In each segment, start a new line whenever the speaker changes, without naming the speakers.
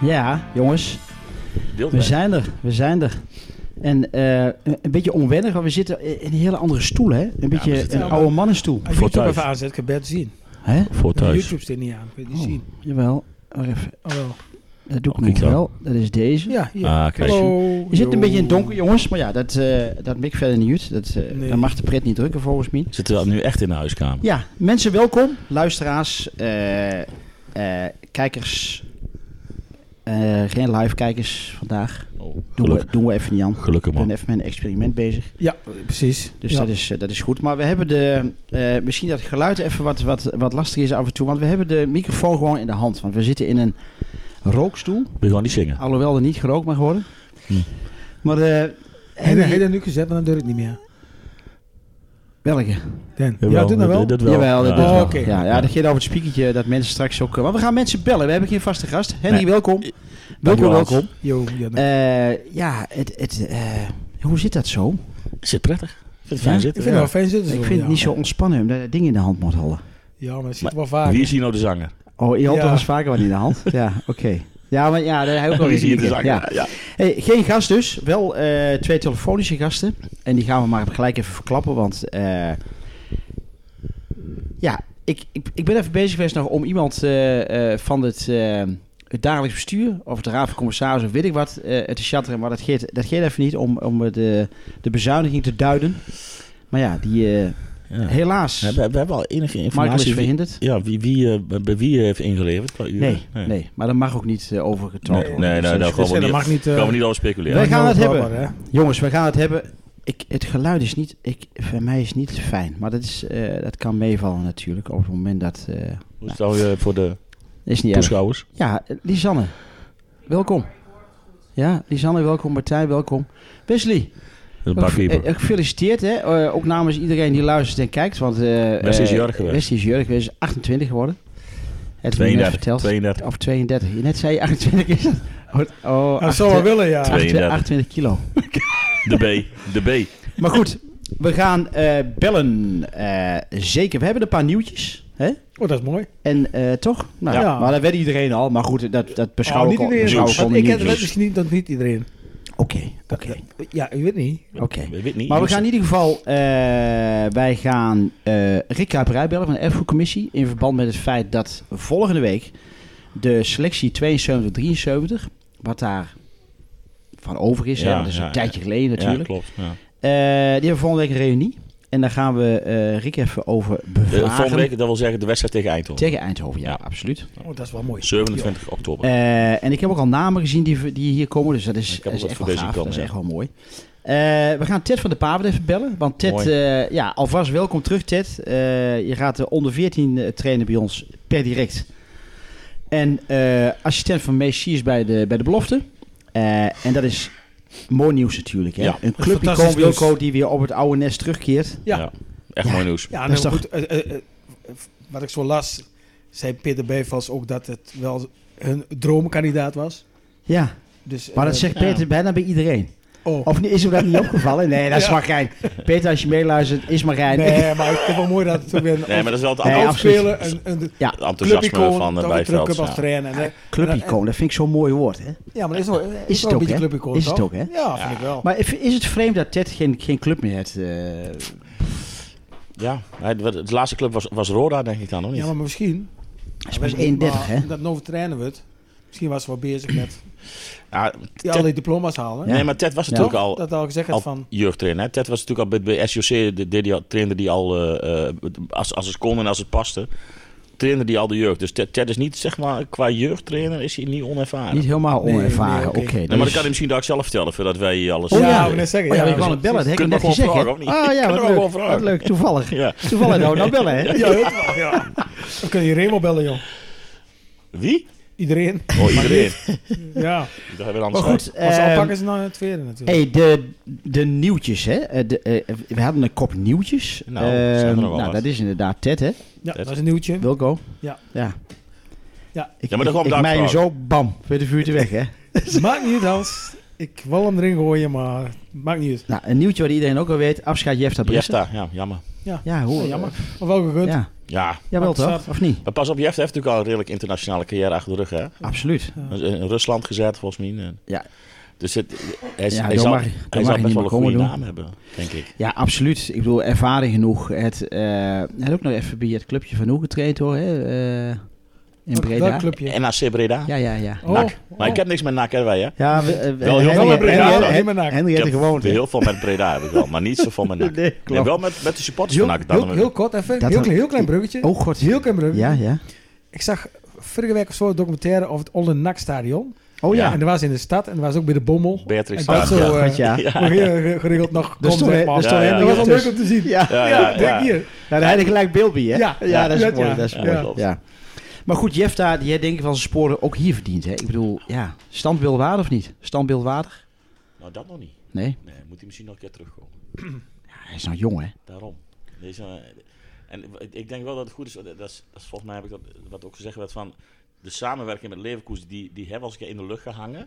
Ja, jongens,
Deel
we zijn er. We zijn er. En eh, een een beetje onwennig, want we zitten in een hele andere stoel, hè? Een beetje
we zitten
een
in-
oude mannenstoel.
Voor
Als je Ah, YouTube
thuis.
even aanzet, kan je het best zien.
Hè?
Voor thuis.
YouTube zit niet aan, kun je niet
Oh,
zien.
jawel, wacht even.
Oh, wel.
Dat doe ik
Oh,
nog
kijk dan.
wel. Dat is deze.
Ja, hier.
Ah, kijk.
Hallo.
Je zit een beetje in het donker,
joh.
jongens. Maar ja, dat, eh dat mikt verder niet uit. Dat, eh,
Nee.
Dan mag de pret niet drukken, volgens mij.
Zitten we nu echt in de huiskamer?
Ja, mensen welkom. Luisteraars, eh, eh, kijkers. Eh, geen live kijkers vandaag.
Oh,
Doen we,
gelukkig,
doen we even niet aan. Ik
gelukkig
ben
man.
even met een experiment bezig.
Ja, precies.
Dus
Ja.
dat, is, eh, dat is goed. Maar we hebben de, eh, misschien dat geluid even wat, wat, wat lastig is af en toe. Want we hebben de microfoon gewoon in de hand. Want we zitten in een rookstoel.
We gaan niet zingen.
Alhoewel er niet gerookt mag worden.
Hm.
Maar eh
Heb je
Henry-
heb je dat nu gezet, want dan doe ik niet meer.
welke?
Dan. Ja, doe nou wel.
Dat, dat wel.
Jawel, dat
Ja.
is wel.
Oh, oké.
ja, ja, dat ging over het spiekertje dat mensen straks ook... eh, Want we gaan mensen bellen. We hebben geen vaste gast. Henry,
Nee.
welkom.
Eh,
Welkom,
dankjewel.
welkom.
Yo, ja, dan-
Eh, ja, het, het, eh, hoe zit dat zo?
Zit prettig. Ik Vind het fijn
Ja?
zitten.
ik vind het wel fijn zitten.
Ik
zo,
vind het
ja.
niet zo ontspannen om dat ding in de hand moet houden.
Ja, maar het zit
Maar
wel vaak.
Wie is hier nou de zanger?
Oh, je had
Ja.
toch eens vaker wat in de hand? Ja, oké. Ja, maar ja, daar heb ik ook
Wie is hier de
wel
zanger?
ja.
Ja. ja.
Hey, Geen gast dus. Wel eh, twee telefonische gasten. En die gaan we maar gelijk even verklappen, want... eh, ja, ik, ik, ik ben even bezig geweest nog om iemand eh, eh, van het, eh, het dagelijks bestuur... of de raad van commissaris of weet ik wat, eh, te chatteren. Maar dat geeft, dat geeft even niet om, om eh, de, de bezuiniging te duiden. Maar ja, die, eh, helaas,
We, hebben- we hebben al enige
Michael is
informatie. wie,
verhinderd.
ja, wie, wie, eh, bij- bij wie heeft ingeleverd? Qua uren?
Nee, nee, maar dat mag ook niet eh, overgetoond
Nee,
worden.
nee, nou,
Dus
nee,
dat is-
dat gaan we
dat
niet-
mag niet... eh,
Gaan we niet over
Wij
speculeren.
gaan het
wel
hebben.
wat, hè.
Jongens, we gaan het hebben. Ik, het geluid is niet, ik, voor mij is niet fijn, maar dat, is, eh, dat kan meevallen natuurlijk op het moment dat... eh
Hoe stel je voor de
is niet erg.
toeschouwers?
Ja, eh, Lisanne, welkom. Ja, Lisanne, welkom. Martijn, welkom. Wesley,
De
ook-
barkeeper.
eh, gefeliciteerd. Hè? Eh, ook namens iedereen die luistert en kijkt. Want, eh,
Wesley is
eh,
jarig geweest.
Wesley is jarig geweest, is 28 geworden. Het
32.
verteld.
32.
Of 32. Je net zei je 28 is dat. Oh, oh,
Dat
28
zou wel willen, ja.
Twee. 32.
28 kilo.
De B. De B.
Maar goed, we gaan eh, bellen. eh, zeker. We hebben een paar nieuwtjes. Hè?
Oh, dat is mooi.
En eh, toch? Nou,
Ja.
Maar dat weet iedereen al. Maar goed, dat, dat beschouw
Oh,
ik
niet
al.
iedereen.
beschouw ik
want
al
ik
de
heb het
nieuwtjes.
misschien niet, dat niet iedereen.
Oké, oké,
Ja, ik weet niet.
oké.
Weet niet.
Maar we gaan in ieder geval, eh, wij gaan eh Rick Kuiperij bellen van de Erfgoedcommissie. In verband met het feit dat volgende week de selectie 72-73, wat daar van over is, hè,
Ja,
want dat is
ja,
een tijdje geleden
Ja,
natuurlijk.
klopt. Ja.
Eh, die hebben volgende week een reunie. En daar gaan we eh Rick even over
De,
bevragen.
Eh, volgende week, dat wil zeggen de wedstrijd tegen Eindhoven.
Tegen Eindhoven, ja,
Ja.
absoluut.
Oh, dat is wel mooi.
27 oktober.
Eh, en ik heb ook al namen gezien die, die hier komen. Dus dat is,
Ik heb
dat
ook
is
wat
echt
voor
wel
deze
gaaf.
komen,
dat is
ja.
echt wel mooi. Eh, we gaan Ted van de Paven even bellen. Want Ted,
Mooi.
eh, ja, alvast welkom terug Ted. Eh, je gaat de onder 14 eh, trainen bij ons per direct. En eh, assistent van Mees Siers bij de, bij de belofte. Eh, en dat is mooi nieuws natuurlijk. Hè?
Ja.
Een clubicoon
Fantastisch nieuws.
Wilco die weer op het oude nest terugkeert.
Ja.
Echt
Ja.
mooi nieuws.
Ja,
Dat is
nou,
toch-
goed, eh, eh, eh, wat ik zo las, zei Peter Bijvals ook dat het wel hun droomkandidaat was.
Ja,
Dus,
Maar dat
eh,
zegt Peter bijna bij iedereen.
Oh.
Of niet- is hem dat niet opgevallen? Nee, dat is
Ja.
Marijn. Peter, als je meeluistert, is Marijn.
Nee, maar ik vind het wel mooi dat het toen weer een
Nee, maar dat is wel het
Nee,
oud
absoluut.
speler, een, een
Ja,
enthousiasme
clubicoon,
van
dat
eh,
we terug
Bijveld.
kunnen
ja.
als trainer. En, eh,
clubicoon, dat vind ik zo'n mooi woord. Hè?
ja, maar dat is wel, dat
Is
wel
het ook,
een
hè?
beetje clubicoon,
Is het
toch?
ook, hè?
Ja, vind ik wel.
Maar if- is het vreemd dat Ted geen, geen club meer heeft? eh?
Ja, hij- de de laatste club was, was Roda, denk ik dan, nog niet?
ja, maar misschien...
is pas 31, hè?
Dat Novo trainen we het. Misschien was ze wel bezig met
Ja,
die,
Ted-
al die diploma's halen.
Nee, maar Ted was
Ja.
natuurlijk
Toch?
al,
dat al gezegd had
al
van...
jeugdtrainer. Hè? Ted was natuurlijk al bij, bij SJC, de, deed die al, trainde die al, eh, eh, als, als het kon en als het paste, trainde die al de jeugd. Dus Ted, Ted is niet, zeg maar, qua jeugdtrainer is hij niet onervaren.
Niet helemaal
Nee,
onervaren.
nee,
Oké,
oké.
nee, maar dat kan hij misschien daar ook zelf vertellen, voordat wij hier alles... eh,
Oh ja,
ja,
ja.
ik net zeggen.
Oh ja,
ja,
we gaan het bellen. Dat heb ik
Kunnen
net
we gewoon
gezegd. hè?
vragen, of niet?
Ah ja,
Kunnen we
wat
gewoon
leuk.
vragen.
Wat leuk, toevallig.
Ja.
Toevallig nou, nou bellen, hè?
Ja, weet wel, ja. Dan kun je Remo bellen, joh.
Wie?
Iedereen.
Oh, iedereen.
Ja.
Dat hebben we anders
Maar goed,
Maar ze
ehm,
alpakken ze nou het tweede natuurlijk.
Hey, de, de nieuwtjes, hè? Eh, De, eh, we hadden een kop nieuwtjes.
Nou,
Ehm,
zijn er nog wel
nou
wat.
dat is inderdaad Ted, hè?
ja, dat is een nieuwtje.
Wilco.
Ja.
Ja.
Ja.
Ik,
Ja, maar dan
ik,
gewoon
ik
daar
mij je
vragen.
zo, bam, weer de vuurtje weg, hè?
Maakt niet uit. Ik wil hem erin gooien, maar maakt niet uit.
Nou, een nieuwtje wat iedereen ook al weet. Afscheid Jefta Brissen.
Jefta, ja, jammer.
Ja, hoe?
Ja, jammer. Maar wel gegund.
Oh, Ja,
Ja,
jawel
Maar het
toch? Of niet?
maar pas op, Jefta heeft natuurlijk al een redelijk internationale carrière achter de rug, hè?
Absoluut.
Hij is In Rusland gezet, volgens mij. En-
Ja.
Dus het, hij, is-
Ja,
hij
dan
zal,
mag-
hij
dan mag
zal
je
best
niet
wel
meer
een
komen
goede
doen.
naam hebben, denk ik.
Ja, absoluut. Ik bedoel, ervaring genoeg. Het, eh, hij heeft ook nog even bij het clubje van Hoe getraind hoor. Hè? eh, in
Welk-
Breda.
Welk clubje?
NAC Breda.
Ja, ja, ja.
Oh,
NAC. Maar
oh.
ik heb niks met NAC, hebben wij, hè?
Ja, we, eh,
Wel heel
Henry-
veel met Breda,
Henry-
dan.
Henry-
Niet met NAC.
Henry
Ik
heeft
heb
er gewoond. hè?
heel veel met Breda heb ik wel, maar niet zoveel met NAC.
Nee,
Nee,
klopt.
wel met, met de supporters
Heel,
van NAC. Dan
heel, heel kort even.
Dat
heel,
had-
klein- heel klein bruggetje.
Oh god.
Heel klein bruggetje.
Ja, ja.
Ik zag vorige week of zo een documentaire over het Olde NAC-stadion.
Oh ja.
Ja.
En daar was in de stad en daar was ook bij de Bommel.
Beatrix
En dat
Stadion.
zo eh,
God, ja.
Ja.
nog heel ge- geregeld nog
Dus
komt,
toen-
zeg maar.
dus
toen
Ja,
Henry
Dat was wel
dus-
leuk om te zien.
Ja,
Ja,
Ja,
ja,
denk
ja.
hier.
ja, daar had ik gelijk beeld bij, hè?
Ja.
ja dat is
Ja,
mooi.
ja.
Dat is
Ja,
mooi. Ja,
klopt.
Maar goed, Jefta, die heeft denk ik van zijn sporen ook hier verdiend. Hè? Ik bedoel, ja, standbeeldwaardig of niet? Standbeeldwaardig?
Nou, dat nog niet.
Nee,
Nee, moet hij misschien nog een keer terugkomen.
hij is nou jong, hè?
Daarom. Deze, eh, en ik- ik denk wel dat het goed is, dat is, dat is volgens mij heb ik dat, wat ook gezegd werd van, de samenwerking met Leverkusen, die, die hebben we als een keer in de lucht gehangen.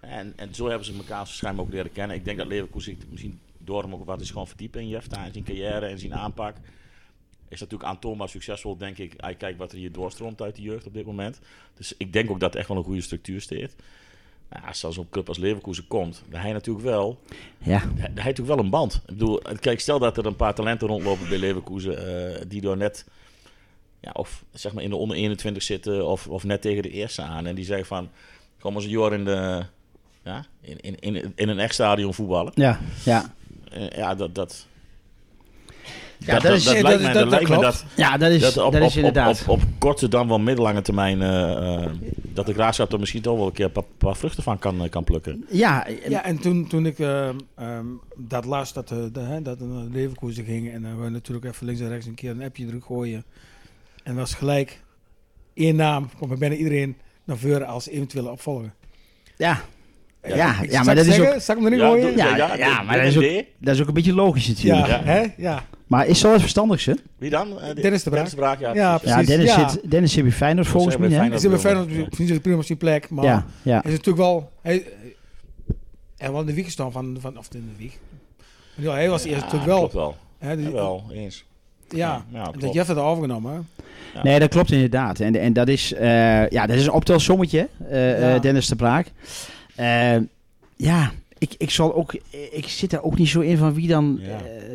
En, en zo hebben ze elkaar waarschijnlijk ook leren kennen. Ik denk dat Leverkusen zich misschien door hem ook wat is gewoon verdiepen in Jefta, in zijn carrière en zijn aanpak. Is natuurlijk aantoonbaar succesvol, denk ik. Als je kijkt wat er hier doorstroomt uit de jeugd op dit moment. Dus ik denk ook dat er echt wel een goede structuur steekt. Nou, als er zo'n club als Leverkusen komt, dan hij natuurlijk wel
Ja,
hij hij heeft ook wel een band. Ik bedoel, kijk, stel dat er een paar talenten rondlopen bij Leverkusen eh, die door net, ja, of zeg maar in de onder 21 zitten of, of net tegen de eerste aan. En die zeggen van, kom eens een jaar in de, ja, in, in, in, in een echt stadion voetballen.
ja, ja.
Eh, ja, dat, dat,
Ja, dat is-
dat
lijkt
is-
mij-
dat-
dat lijkt
dat
mij
klopt.
dat,
Ja, dat is,
dat
dat,
op,
is
op, op,
inderdaad.
op, op korte dan wel middellange termijn, eh, eh, dat de graafschap er misschien toch wel een keer een paar, paar vruchten van kan, eh, kan plukken.
Ja,
Ja, en toen, toen ik ehm, ehm, dat las, dat, eh, de, hè, dat er naar Leverkusen ging... en dan we natuurlijk even links en rechts een keer een appje druk gooien. En was gelijk één naam, komt bij bijna iedereen naar voren als eventuele opvolger.
ja. Ja,
Eh,
ja,
ik-
maar
zal ik
dat is
zeggen?
ook-
Zal ik hem erin gooien?
doe-
Ja, ja,
doe-
maar
doe
dat is
een
ook-
idee.
dat is ook een beetje logisch natuurlijk.
Ja,
Ja.
hè? Ja.
Maar is dat wel verstandig, hè?
Wie dan? Eh,
Dennis de Braak.
ja.
Ja,
precies,
Ja,
Precies,
Dennis,
ja.
Zit, Dennis zit bij Feyenoord volgens
Zij
mij,
bij
hè?
Feyenoord.
Is hij bij Feyenoord
Ja.
misschien zit prima op zijn plek, maar
Ja, ja.
hij is natuurlijk wel... Hij, hij was in de wieg gestaan van, van... Of in de wieg. Ja, hij was eerst natuurlijk wel...
Klopt wel.
Hè, die-
Jawel, eens.
Ja,
Ja,
en dat
klopt.
Jeff had overgenomen. hè.
Ja.
Nee, dat klopt inderdaad. En, en dat, is, eh, ja, dat is een optelsommetje, eh,
Ja.
eh, Dennis de Braak. Eh, ja, ik, ik, zal ook, ik zit daar ook niet zo in van wie dan...
Ja.
eh,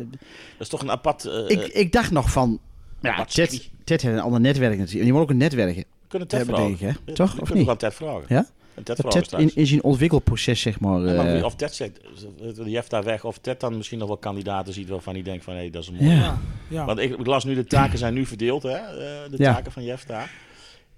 Dat is toch een apart... eh,
ik, ik dacht nog van... Ja,
Wat
Ted,
wie?
Ted heeft een ander netwerk natuurlijk. En die moet ook een netwerk
we kunnen Ted
hebben,
vragen.
denk ik, hè?
Eh,
Toch?
We
Of
kunnen
niet?
gewoon Ted vragen.
Ja?
En Ted
Dat
vragen
Ted in,
straks.
in zijn ontwikkelproces, zeg maar...
Ja, maar
eh,
wie- of Ted zegt, eh, dat Jeff daar weg, of Ted dan misschien nog wel kandidaten ziet waarvan hij denkt van, hé, dat is een mooie.
Ja.
Ja, ja.
Want ik, ik las nu, de taken zijn nu verdeeld, hè? eh, de
Ja.
taken van Jeff daar.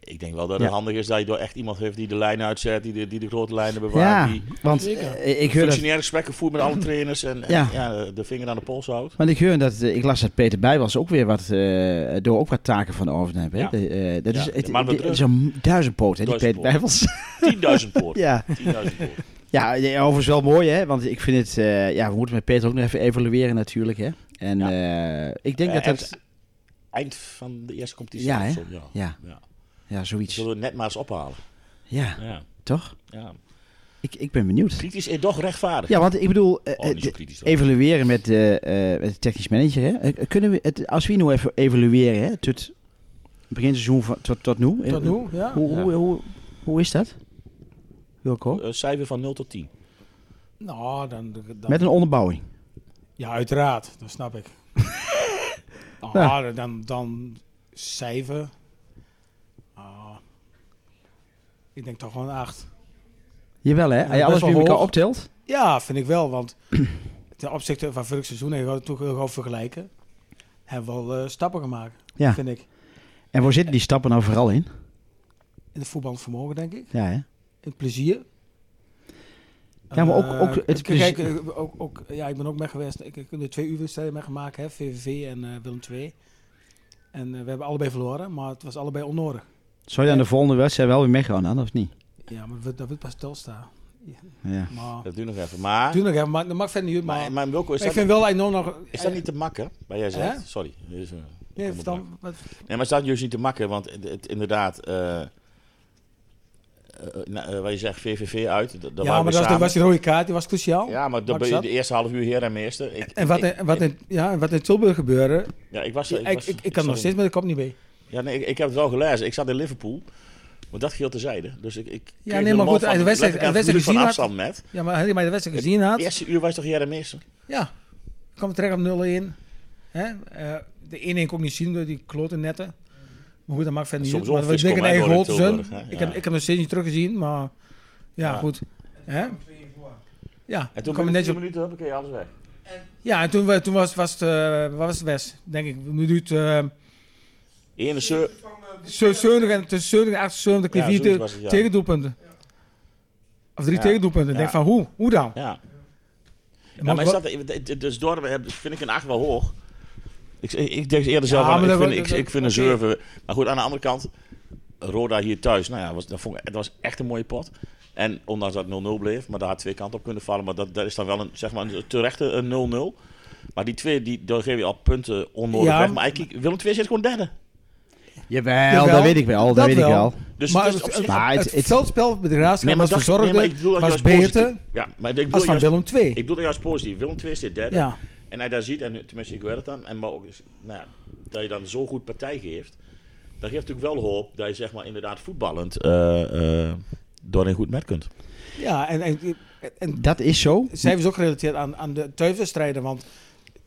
Ik denk wel dat
Ja.
het handig is dat je door echt iemand heeft die de lijnen uitzet, die de, die de grote lijnen bewaart,
ja,
die
want
Zeker.
eh, ik hoor dat
functionaire gesprekken voert met alle trainers en, en
Ja.
ja. de vinger aan de pols houdt.
Want ik hoor dat, eh, ik las dat Peter bij was ook weer wat, eh, door ook wat taken van overneemt. Hè?
Ja.
De, eh, dat
Ja,
is,
de
het,
man met
dit
druk.
is een duizendpoot, hè, die Peter
Duizendpoot.
bij was.
10.000 poort.
ja.
10.000 poort.
Ja, ja, overigens wel mooi, hè? Want ik vind het, eh, ja, we moeten met Peter ook nog even evalueren natuurlijk, hè? En
Ja.
eh, ik denk
Eh,
dat
en
dat,
het Eind van de eerste competitie.
Ja, hè?
of zo, ja.
ja,
Ja.
ja, zoiets.
Zullen we het net maar eens ophalen.
Ja,
Ja.
toch?
Ja.
Ik, ik ben benieuwd.
Kritisch en toch rechtvaardig.
Ja, want ik bedoel, eh,
Oh,
eh,
niet zo
de-
kritisch hoor.
evalueren met, de eh, met de technisch manager, hè? Eh, Kunnen we het, als we nu even evalueren, hè? Tot begin seizoen van, tot, tot nu? eh,
Tot nu, ja.
Hoe, hoe, hoe, hoe is dat? Wilco?
Een Eh, cijfer van 0 tot 10.
Nou, dan, dan-
Met een onderbouwing.
Ja, uiteraard. Dat snap ik. Ah,
Ja.
dan, dan cijfer. Ah, ik denk toch gewoon acht.
Jawel hè,
Ja,
als je
best
alles
wel
bij elkaar
hoog.
optelt.
Ja, vind ik wel. Want ten opzichte van vorig seizoen, even we toch heel goed vergelijken, hebben we wel eh, stappen gemaakt,
Ja.
vind ik.
En waar zitten die stappen nou vooral in?
In het voetbalvermogen, denk ik.
Ja, hè?
In het plezier.
Ja, maar ook-
Eh,
ook het
kijk,
plezier-
eh, ook, ook, ja, ik ben ook mee geweest. Ik ik heb de twee uurwedstrijden mee gemaakt, hè, VVV en eh, Willem II. En eh, we hebben allebei verloren, maar het was allebei onnodig.
Zou je dan de volgende wedstrijd wel weer meegaan dan, of niet?
Ja, maar dat- dat wordt pas stilstaan.
Ja.
Maar
Dat duurt nog even. Maar,
doe nog even, maar dat mag verder niet uit. Maar,
maar, maar Wilco, is,
maar ik
dat,
vind wel enorm nog...
is dat niet te makken? Waar jij zegt?
Hè?
Sorry. dit is, eh,
Nee,
onderbrak.
vertel, wat-
Nee, maar is dat juist niet te makken? Want het, het- inderdaad... eh, eh, nou, eh, waar je zegt VVV uit. d- daar
ja,
waren
maar
we
dat was,
samen.
die- was die rode kaart, die was cruciaal.
Ja, maar de,
Max zat.
de eerste half uur heer en meester. Ik,
En wat,
ik,
in, wat, in, ja, en wat in Tilburg gebeurde,
ja, ik, was, er-
ik, ik,
was-
ik,
ik
kan nog
zat in-
steeds met de kop niet mee.
Ja, nee, ik, ik heb het wel gelezen. Ik zat in Liverpool. Maar dat geheel terzijde. Dus ik, ik
nee, maar goed, uit de wedstrijd- uit de wedstrijd
gezien
gezien
afstand met.
Ja, maar had je maar de wedstrijd gezien had,
Het eerste uur was toch Jere Meester?
ja, kwam het terecht op 0-1. Hè? eh, de 1-1 kon ik niet zien door die klote netten. Maar goed, dat maakt verder niet uit.
Soms
Maar
onfris
we denken
komen, hè,
eigen
door
goal te
in
zijn.
Tilburg, hè?
Ik
Ja.
heb, ik heb nog steeds niet teruggezien, maar ja,
Ja.
goed. Hè? Ja,
En
toen
toen
kwam
kwam net
het netjes
zo'n
op-
minuut, huppakee, alles weg.
Ja, en toen, we- toen was, was het, eh, wat was het best, denk ik, minuut... eh,
Ene sur...
Zo- 70 en tussen 70 en 78 kreeg
Ja,
vier
zoiets
te-
was het, ja.
tegendoelpunten. Of drie
Ja.
tegendoelpunten. Ik Denk
Ja.
van hoe? Hoe dan?
Ja.
Maar
Ja, maar is
wat-
dat, dus Dorp heb- vind ik een 8 wel hoog. Ik, eh, ik denk eerder zelf,
Ja,
aan,
maar
ik,
dat-
vind,
dat-
ik, ik vind een
oké.
7. Maar goed, aan de andere kant, Roda hier thuis, nou ja, was, dat, vond ik, dat was echt een mooie pot. En ondanks dat het 0-0 bleef, maar daar had twee kanten op kunnen vallen. Maar dat, dat is dan wel een, zeg maar, een terechte een 0-0. Maar die twee, die, daar geef je al punten onnodig
Ja,
weg. Maar ik, Willem II zit gewoon derde.
Jawel,
Jawel,
dat weet ik wel. Dat,
dat
weet ik
wel.
wel.
Dus,
maar
dus op
het,
zich-
het,
Maar Ah, het-
het
het-
veldspel bij de Graafschap was
dat-
verzorgd,
nee, maar ik bedoel dat
was
juist
beter
positief. Ja, maar ik bedoel
als van
juist,
Willem II.
ik bedoel dat juist positief. Willem II zit derde.
Ja.
En hij daar ziet, en tenminste ik weet het dan, en maar ook, nou ja, dat je dan zo goed partij geeft, dat geeft natuurlijk wel hoop dat je zeg maar inderdaad voetballend eh, eh, doorheen goed met kunt.
ja, en, en, en
Dat is zo.
cijfers ook gerelateerd aan, aan de thuiswedstrijden. Want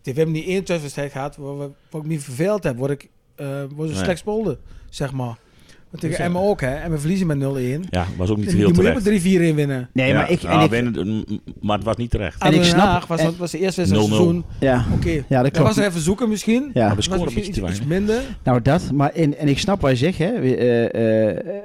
we hebben niet één thuiswedstrijd gehad waar, we, waar ik niet verveeld heb. Word ik eh word zo
Nee.
slecht spolden, zeg maar. Want tegen
Dus, eh,
Emmen ook, hè. Emmen verliezen met 0-1. En
Ja, was ook niet
Die
heel
moet je
terecht.
met 3-4 in winnen.
Nee,
Ja,
maar ik...
nou,
En ik
winnen, mm, mm, maar het was niet terecht.
En
En
ik
ik
snap-
was,
en-
dat was de eerste wedstrijd van het
0-0.
seizoen.
ja,
Oké,
ja, dat
dat was
klopt.
er even zoeken misschien.
Ja.
Maar
Maar
we
Dat was
scoren
misschien
iets te
iets, iets
weinig.
minder.
Nou, dat. Maar en, en ik snap wat je zegt, hè. Eh, eh, eh,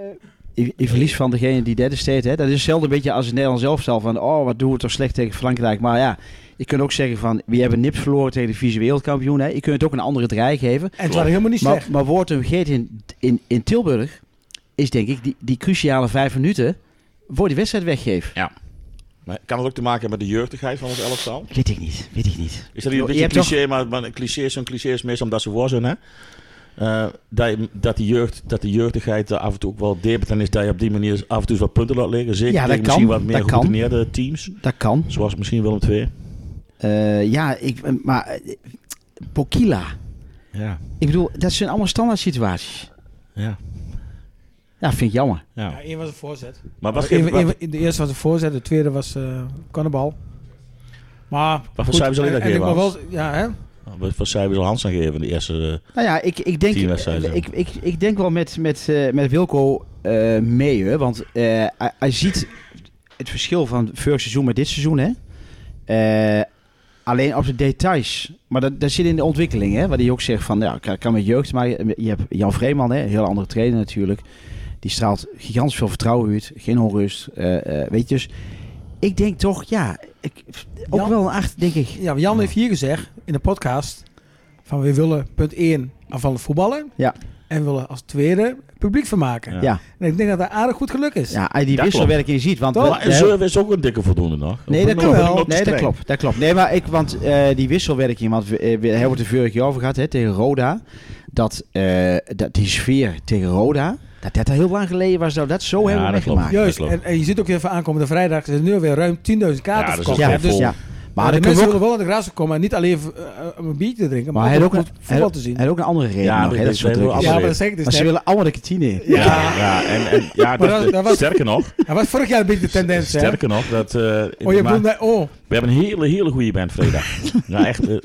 je- je verlies van degene die derde steed, hè. Dat is hetzelfde beetje als in Nederland zelf zelf. Van, oh, wat doen we toch slecht tegen Frankrijk. Maar ja, je kunt ook zeggen van... We hebben nips verloren tegen de vieze wereldkampioen, hè. Je kunt het ook een andere draai geven.
En het waren helemaal niet
Maar,
slecht.
maar wordt hem vergeten in, in, in Tilburg... Is denk ik die, die cruciale vijf minuten... Voor die wedstrijd weggeven.
Maar kan het ook te maken hebben met de jeugdigheid van het elftal?
Weet ik niet. Weet ik niet.
Is dat niet een
Je
beetje
hebt
cliché, maar, maar een cliché is een cliché is meestal omdat ze voor zijn, hè? Eh, dat, je- dat, die jeugd, dat de jeugdigheid er af en toe ook wel debet en is dat je op die manier af en toe eens wat punten laat liggen. Zeker
Ja, dat
tegen
kan,
misschien wat
dat
meer
kan.
geroutineerde teams,
Dat kan.
zoals misschien Willem II.
Eh, ja, ik, maar eh, Bokila.
Ja,
Ik bedoel, dat zijn allemaal standaard situaties.
ja,
Ja, vind ik jammer.
ja.
Eén was een voorzet.
Maar wat, geeft-
Eén-
wat,
één- de eerste was een voorzet, de tweede was eh cannibal. Maar
voor
goed,
cijfer zal je dat
en- en ik
geven,
mag wel- Ja, hè?
wat voor cijfers zal Hans dan geven in de eerste... eh,
Nou ja, ik, ik, denk,
Tien wedstrijden.
ik, ik, ik denk wel met, met, eh, met Wilco eh, mee. Hè? Want eh, hij, hij ziet het verschil van vorig seizoen met dit seizoen. Hè? Eh, alleen op de details. Maar dat, dat zit in de ontwikkeling. Hè? Waar hij ook zegt van, ja, kan, kan met jeugd. Maar je hebt Jan Vreeman, hè? een heel andere trainer natuurlijk. Die straalt gigantisch veel vertrouwen uit. Geen onrust. eh, eh, weet je, dus ik denk toch, ja, ik, ook
Jan-
wel een acht, denk ik.
ja, Jan heeft hier gezegd in de podcast van we willen punt 1 aanvallend voetballen.
Ja.
En we willen als tweede publiek vermaken.
Ja.
Ja,
En ik denk dat dat aardig goed geluk is.
ja als je die
Dat
wisselwerking ziet. Want we-
Oh,
Maar een
we-
service is ook een dikke voldoende nog.
Nee,
Of
dat
nog-
klopt.
nog te
Nee, dat
streng.
klopt. Dat klopt. Nee, maar ik, want eh, die wisselwerking, want we, eh, we hebben het er vorig jaar over gehad hè, tegen Roda. Dat, eh, dat die sfeer tegen Roda, dat dat al heel lang geleden was, dat we dat zo
Ja,
hebben
dat
meegemaakt.
klopt.
Juist.
dat klopt.
En, en je ziet ook even aankomende vrijdag, er zijn nu alweer ruim 10.000 kaarten
Ja, dat is
verkocht.
ook
hè.
wel
dus
vol.
Ja. Maar,
Maar de
dan kunnen
mensen
we ook,
willen wel naar de graafschap komen en niet alleen eh, eh, om een biertje te drinken,
maar
maar,
hij had
ook
ook,
om
een,
goed
hij
voetbal
had-
te zien.
hij had ook een andere reden.
Ja,
nog, hè,
dit
dat
is
zo
een
druk
heel
is.
ander-
ja, maar dat zeg ik dus
Maar ze
net.
willen allemaal de kantine in.
Ja, ja. en, en ja, dat,
Maar dat- dat was-
sterker nog,
Dat was vorig jaar een beetje de tendens, hè?
sterker nog, dat... eh,
Oh, je
maar-
bedoelt, dat- oh,
We hebben een hele, hele goede band vrijdag. ja, echt. eh, dat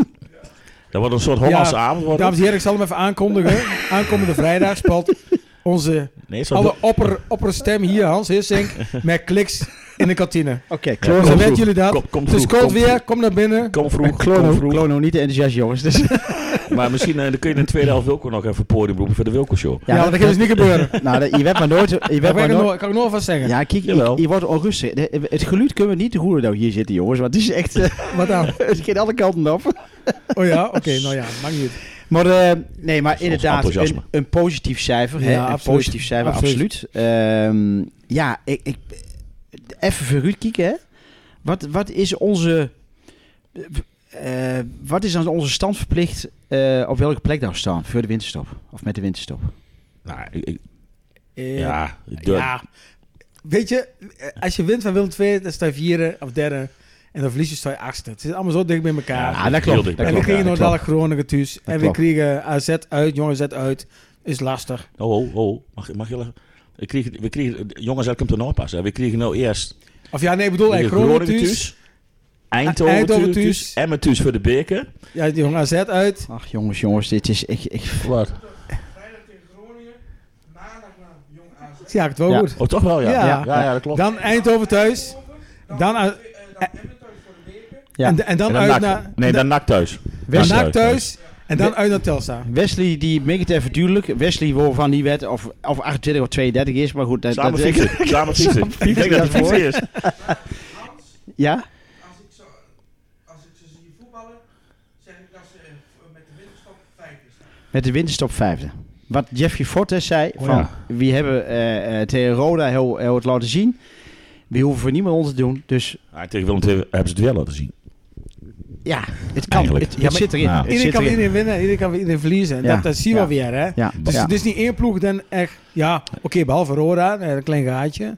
wordt een soort Hollandse
Ja,
avond. Worden.
dames en heren, ik zal hem even aankondigen. Aankomende vrijdag speelt onze
nee, zo
alle opper, opperstem hier, Hans Hissink, met kliks in de kantine.
Oké,
Kom
Zo
klonen.
vroeg.
weten jullie dat.
Kom- kom
het is
vroeg,
koud
kom
weer,
vroeg.
kom naar binnen.
Kom vroeg, kom
Klono,
vroeg.
klono niet de enthousiast jongens. Dus,
Maar misschien eh, dan kun je in de tweede helft Wilco nog even podium roepen voor de Wilco Show.
Ja, dat gaat dus niet gebeuren.
nou, dat- je werd maar nooit... Je
Dat
werd
kan
maar
ik
nooit
nog- kan ik nog alvast zeggen.
ja, kijk, je,
Jawel.
je wordt onrustig. De- Het geluid kunnen we niet te goed dat we hier zitten, jongens. Want het is echt... eh,
Wat dan?
het gaat alle kanten op.
Oh ja, oké, nou ja, maakt niet uit.
Maar eh, nee, maar
ons
inderdaad, een,
enthousiasme.
een positief cijfer. hè,
Ja,
een
absoluut.
positief cijfer, absoluut.
Absoluut.
Ehm, ja, ik, ik, even voor Ruud kieken. Hè. Wat, wat is onze... eh, wat is dan onze stand verplicht eh, op welke plek dan staan voor de winterstop? Of met de winterstop?
Nou, ik, ik-
Eh,
ja, ik durf-
ja. Weet je, eh, als je wint van Willem II, dan sta je vierde of derde. En dan verlies je, sta je achtste. Het zit allemaal zo dicht bij elkaar.
Ja, dat
Heel
klopt.
dicht.
dat
en we
klopt,
kregen
ja,
nog
dat klopt.
dadelijk Groningen thuis. En we
klopt.
kregen AZ uit, jongen Z uit. Is lastig.
Oh, oh, oh. Mag, mag je even... We kregen, we kregen, jongens, uit komt er nog pas. Hè. We kregen nou eerst
Of ja, nee, ik bedoel,
we
eigenlijk
kregen
Oh, Groningen
Groningen
thuis.
thuis, Eindhoven,
Eindhoven
thuis,
thuis.
Emmen thuis voor de beker.
Ja, die jongen AZ uit.
Ach jongens, jongens, dit is echt... echt
Wat?
Ja, het wel
Ja.
goed.
Oh, toch wel, ja.
Ja.
Ja, ja, dat klopt.
Dan Eindhoven thuis. Dan uit-
Ja.
en, en dan
En dan
uit
NAC.
naar...
nee, dan NAC thuis.
Dan
NAC
NAC thuis. En dan uit naar Telstar.
Wesley, die maakt het even duidelijk. Wesley, waarvan die wet of, of 28 of 32 is, maar goed. Dat,
Samen
dat,
fietsen. Samen fietsen. Ik denk dat het
daarvoor.
fietsen is.
Ja?
Als ik, zo, als ik ze zie voetballen, zeg ik dat ze eh, v- met de winterstop vijfde staan.
Met de winterstop vijfde. Wat Jeffrey Fortes zei,
Oh,
van,
ja.
wie hebben eh eh, tegen Roda heel, heel het laten zien. We hoeven voor niemand ons te doen. Dus
Ah, tegen Willem II hebben ze het wel laten zien.
ja, het kan.
Eigenlijk.
Het, het
Ja, maar-
zit erin.
Ja.
Het
Iedereen
zit
kan
erin.
iedereen winnen, iedereen kan iedereen verliezen. En
Ja.
Dat, dat zien we
Ja.
weer, hè.
Ja,
Dus
ja.
het is niet één ploeg dan echt... Ja, oké, behalve Roda, eh, een klein gaatje.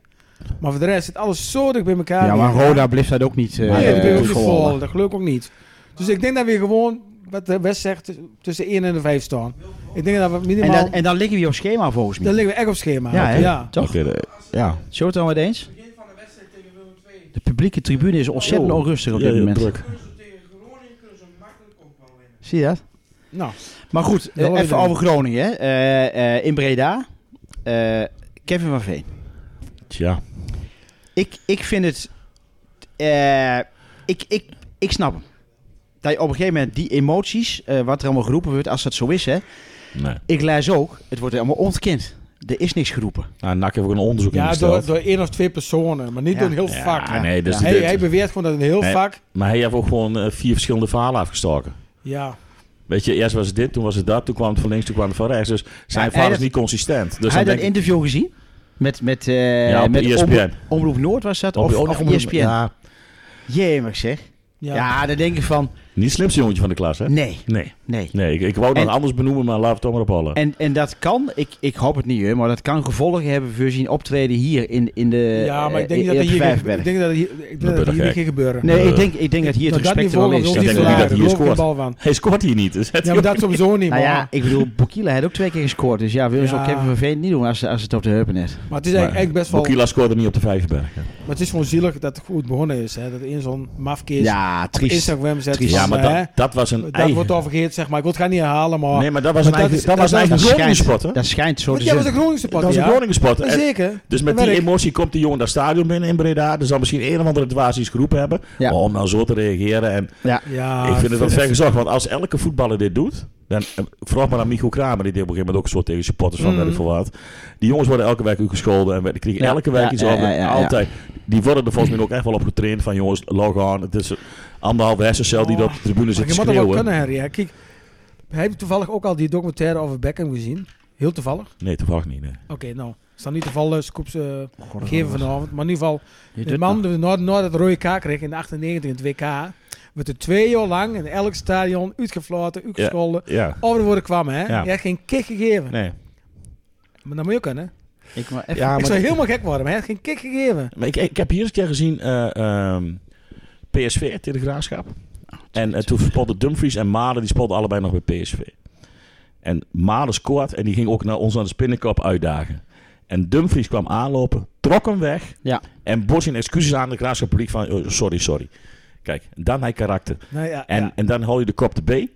Maar voor de rest zit alles zo dicht bij elkaar.
ja, maar
weer.
Roda blijft dat ook niet. eh,
Nee, dat ben ik ook
eh,
niet
volhouden.
vol. Dat geloof ik ook niet. Dus ik denk dat we gewoon, wat de West zegt, tuss- tussen 1 en de 5 staan. Ik denk dat we
En
minimaal...
dan, en dan liggen we op schema volgens
dan
mij.
liggen we echt op schema.
Ja, hè?
ja.
Toch?
Oké, de- ja.
Zullen we het dan wat eens?
Begin van de wedstrijd tegen Willem II.
De publieke tribune is ontzettend
Oh.
onrustig op
Ja,
dit
ja,
moment.
druk.
Kunnen ze tegen Groningen kunnen ze makkelijk ook wel winnen.
Zie je dat?
Nou,
Maar goed,
Ja,
eh,
wat
even
we doen.
over Groningen. hè. Eh, eh, in Breda. eh, Kevin van Veen.
Tja.
Ik, ik vind het. eh, ik, ik, ik snap hem. Dat je op een gegeven moment die emoties, eh, wat er allemaal geroepen wordt, als dat zo is, hè.
Nee.
Ik lees ook, het wordt allemaal ontkend. Er is niks geroepen.
Nou, NAC heeft ook een onderzoek
ja door,
ingesteld.
door één of twee personen, maar niet
Ja.
door een heel
Ja,
vak.
nee, dus
Ja.
dit-
Hij, hij beweert gewoon dat een heel
Nee.
vak...
Maar hij heeft ook gewoon eh, vier verschillende verhalen afgestoken.
Ja,
Weet je, eerst was het dit, toen was het dat, toen kwam het van links, toen kwam het van rechts. Dus zijn
hij
verhaal is
dat-
niet consistent. Dus dan
Heb je dat
denk ik,
interview gezien? Met, met, eh,
ja, op E
met
ESPN.
Omroep, Omroep Noord was dat?
Op-
Of,
oh,
of E
E
Omroep-
ESPN?
Ja,
Jemig zeg. Ja.
ja.
daar denk ik van,
niet het slimste jongetje van de klas, hè?
nee,
Nee.
nee.
Nee, ik, ik wou dat
En-
anders benoemen, maar laat het toch maar opvallen.
En, en dat kan, ik, ik hoop het niet, hè, maar dat kan gevolgen hebben voor zien optreden hier in, in de
ja, maar ik denk
eh,
niet
in
dat
het
hier,
Vijverberg.
ik denk dat hier, ik denk
ben
dat
ik
hier niet
gek.
ging gebeuren.
Nee,
Eh,
ik denk, ik denk dat hier het
Op dat
respect er wel
niveau gaan we
is.
ons
Ik
niet
denk ook niet
verlagen.
dat hij hier
Daar geloof ik geen
scoort.
bal van.
Hij scoort hier niet. Dus het
Ja, maar dat sowieso niet,
Nou
man.
ja, ik bedoel, Bokila heeft ook twee keer gescoord. Dus ja, wil je
Ja.
ook Kevin van Veen niet doen als, als het op de heupen is.
Maar het is eigenlijk echt best wel...
Bokila scoorde niet op de Vijverberg. hè.
Maar het is gewoon zielig dat het goed begonnen is. Hè? Dat één zo'n mafkees
Ja,
op
triest.
Instagram zet
Triest.
van,
Ja, maar
hè,
dat, dat was een
dat
eigen...
wordt al vergeten, zeg maar. Ik wil het gaan niet herhalen, maar...
Nee, maar dat was
Maar
een
dat
eigen,
is-
dat was een
dat
eigen
is-
Groningen
schijnt-
spot, hè?
Dat schijnt zo
Want
te
jij was
zijn.
een Groningse
Dat
pot,
was een
ja?
Groningen spot. En-
Zeker.
Dus met
Dat
die
werkt.
emotie komt die jongen dat stadion binnen in Breda. Er zal misschien een of andere dwaasjes geroepen hebben.
Ja.
Om nou zo te reageren. En
Ja.
Ja,
ik vind het wat ver gezocht. Want als elke voetballer dit doet. Dan, eh, vraag maar aan Michiel Kramer. Die deed op een gegeven moment ook zo tegen supporters van
Mhm.
weet ik veel wat. Die jongens worden elke week ook gescholden. En we- die krijgen
Ja.
elke week
Ja,
iets
ja,
over.
ja, ja, ja.
Altijd. Die worden er volgens mij ook echt wel op getraind. Van jongens, log on. Het is anderhalve hersencel die
Oh.
dat op de tribune
Maar
zit te
je moet dat wel
schreeuwen.
kunnen, Harry. hè. Kijk, heb je toevallig ook al die documentaire over Beckham gezien? Heel toevallig.
Nee, toevallig niet. Nee.
Oké, nou. Het staat niet toevallig eh, scoops eh, geven vanavond. Maar in ieder geval,
Je
de
doet
man
nog.
die nooit nooit het rode kaart kreeg in de 98 in het WK... werd er twee jaar lang in elk stadion uitgefloten, uitgescholden.
Ja.
Over de woorden kwam, hè.
Ja.
Je had geen kick gegeven.
Nee.
Maar dat moet je ook kunnen.
Ik maar even-
Ja,
Ik
maar-
zou helemaal gek worden, maar hij had geen kick gegeven.
Maar ik, ik heb hier eens een keer gezien eh, ehm, PSV tegen de Graafschap.
Oh,
En eh, toen spotten Dumfries en Malen, die spotten allebei nog bij PSV. En Malen scoort en die ging ook naar ons aan de spinnenkop uitdagen. En Dumfries kwam aanlopen, trok hem weg.
Ja.
En bood zijn excuses aan de Graafschap publiek van "Oh, sorry, sorry. Kijk, dan hij karakter.
Nou ja,
En,
ja.
en dan hou je de kop de B.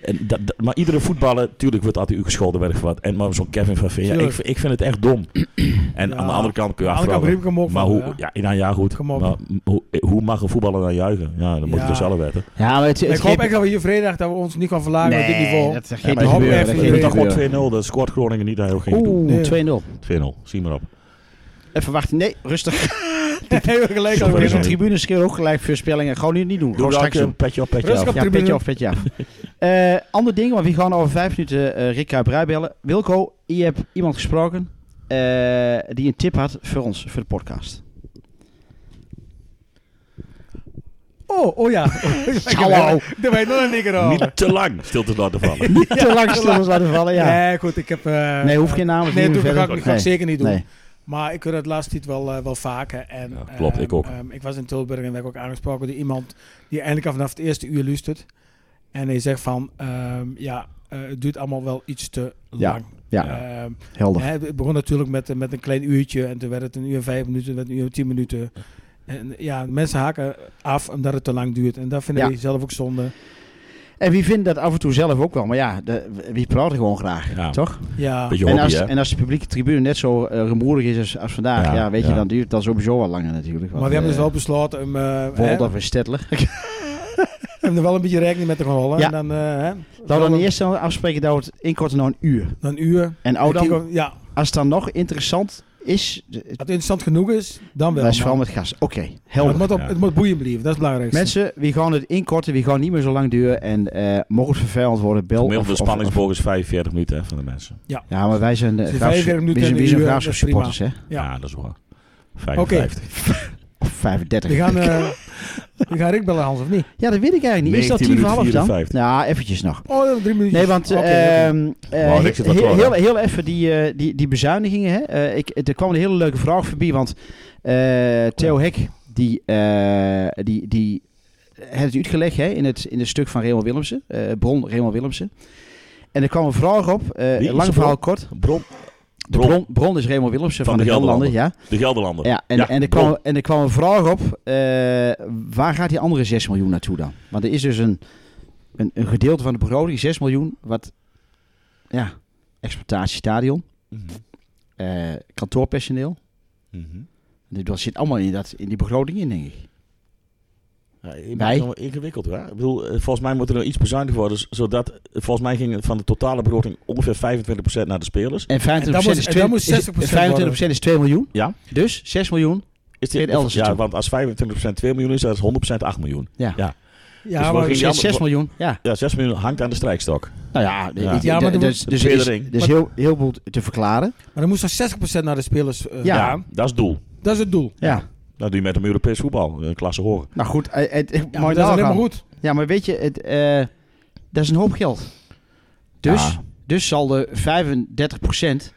En dat, dat- maar iedere voetballer, tuurlijk wordt altijd u gescholden, werd wat. En maar zo'n Kevin van Veen, ja,
Tuurlijk.
ik, ik vind het echt dom. En
Ja.
aan de andere kant kun je
Aan de andere kant
afvragen.
riep ik hem ook
maar
van,
hoe, ja. nou ja, goed.
Kom op.
Maar hoe, hoe mag een voetballer dan juichen? Ja, dan moet
Ja.
je dus zelf weten.
Ja, maar het,
Maar
het
ik hoop
geeft-
echt dat we hier vrijdag dat we ons niet gaan verlagen op dit
Nee,
niveau.
dat gaat
Ja,
niet
maar ik
gebeuren. dat
hoop echt
gaat
Het is
niet
toch
gebeuren.
gewoon 2-0, dat scoort Groningen niet, daar heel geen gedoe.
Oeh,
Nee.
2-0.
2-0, zie maar op.
Even wachten. Nee, rustig.
Heel gelijk
Sorry,
al
Deze
sorry.
tribunes schreeuwen ook gelijk voorspellingen. Gewoon nu niet doen.
Doe eh,
Gewoon
dan
straks doen.
een petje op, petje
Rustig
af.
op.
Ja,
Tribune.
petje af, petje af. Eh, ander ding, want we gaan over vijf minuten eh Rick Kuiperij bellen. Wilco, je hebt iemand gesproken eh, die een tip had voor ons, voor de podcast.
Oh, oh ja. Ik heb
Hallo.
er- Daar ben je nog een nikker over.
Niet te lang stilte laten vallen.
Niet te lang stil ons laten vallen, ja.
Nee, goed, ik heb... eh,
Nee, hoef geen namen te
Nee,
noemen
doe ik
verder.
ook niet. Ga ik
Nee.
zeker niet doen.
Nee.
Maar ik hoor dat laatst niet wel, eh, wel vaker. En,
Ja, klopt, ik
ehm,
ook.
ehm, ik was in Tilburg en werd ook aangesproken door iemand die eindelijk al vanaf het eerste uur luistert. En hij zegt van, ehm, ja, eh, het duurt allemaal wel iets te
Ja,
lang.
Ja,
Ehm,
helder.
hè, het begon natuurlijk met, eh, met een klein uurtje en toen werd het een uur en vijf minuten, toen werd het een uur en tien minuten. En ja, mensen haken af omdat het te lang duurt. En dat vind
Ja.
ik zelf ook zonde.
En wie vindt dat af en toe zelf ook wel? Maar ja, de- wie praat er gewoon graag,
Ja.
toch?
Ja,
Beetje
en,
hobby,
als,
hè?
en als de publieke tribune net zo eh, rumoerig is als, als vandaag, ja,
Ja,
weet je,
ja.
dan duurt dat sowieso wel langer natuurlijk.
maar we hebben dus wel besloten om, eh, hè,
Bijvoorbeeld of in Stettler.
we hebben er wel een beetje rekening mee te gehouden.
Ja.
En dan, eh, hè,
Laten we dan eerst dan afspreken dat we het inkorten naar een uur.
dan een uur.
En ook
Ik
dan,
kijk ook- ja,
als het dan nog interessant is, eh,
als het interessant genoeg is, dan wel.
dat is vooral
maar-
met gas. Oké,
maar
helder.
het, moet op,
Ja.
het moet boeiend blijven, dat is het belangrijkste.
Mensen, wie gaan het inkorten, wie gaan niet meer zo lang duren. En eh mocht het vervelend worden, bel.
Gemiddelde
of- of-
spanningsboog is 45 minuten hè, van de mensen.
of- Ja, maar wij zijn eh
Het is
graafs-
45
wij
minuten
zijn-
en
wij
een
zijn
uur,
graafs-
dat is prima.
supporters, hè?
Ja.
Ja, dat is waar. 55.
Of 35.
We gaan, eh we gaan Rick bellen, Hans, of niet?
ja, dat weet ik eigenlijk niet. Is dat
19
tien voor half
minuten
dan?
54.
Nou, eventjes nog.
Oh, drie minuutjes.
Nee, want
Oké, oké.
ehm, eh,
Wauw,
he-
ik zit wel
he-
klaar,
heel,
hè?
heel even die, eh, die, die bezuinigingen. Hè? Eh, ik, er kwam een hele leuke vraag voorbij, want eh, Theo Hek, die, eh, die, die had het uitgelegd hè, in, het, in het stuk van Raymond Willemsen, eh, bron Raymond Willemsen. En er kwam een vraag op, eh,
Wie is
lang
de
verhaal kort.
Bron,
De
Bron.
bron, bron is Raymond Willemsen van,
Van
de
de
Gelderlander, ja.
de Gelderlander.
ja, en,
Ja,
en, er
Bron.
kwam, en er kwam een vraag op, eh, waar gaat die andere 6 miljoen naartoe dan? Want er is dus een, een, een gedeelte van de begroting, 6 miljoen, wat, ja, exploitatiestadion,
Mhm.
eh, kantoorpersoneel.
Mhm.
Dat zit allemaal in, dat, in die begroting in, denk ik.
Ja, je
Wij?
maakt het wel ingewikkeld, hè? Ik bedoel, eh, volgens mij moet er nog iets bezuinigd worden, z- zodat eh, volgens mij ging van de totale begroting ongeveer 25% naar de spelers.
En 25%
En dat moet-
is,
en
2,
dat moet 60%
is, 25% is 2 miljoen.
Ja.
Dus 6 miljoen.
Is
Geen elders
ja,
naartoe.
want als 25% 2 miljoen is, dat is 100% 8 miljoen.
ja,
dus we
maar,
gingen-
Dus
jammer-
6 miljoen. Ja.
Ja, 6 miljoen hangt aan de strijkstok.
Nou ja,
Ja.
ik-
Ja, maar
d-
er
dus,
moet-
dus
de
er is,
tweede ring.
dus heel, heel veel te verklaren.
maar dan moest er 60% naar de spelers eh,
Ja.
gaan.
Dat is het doel.
Dat is het doel.
Ja.
Dat doe je met hem Europees voetbal, een klasse horen.
Nou goed, eh, het,
Ja,
mooi
maar dat is alleen maar
nagaan.
goed.
Ja, maar weet je, het, eh, dat is een hoop geld. Dus,
Ja.
dus zal de 35%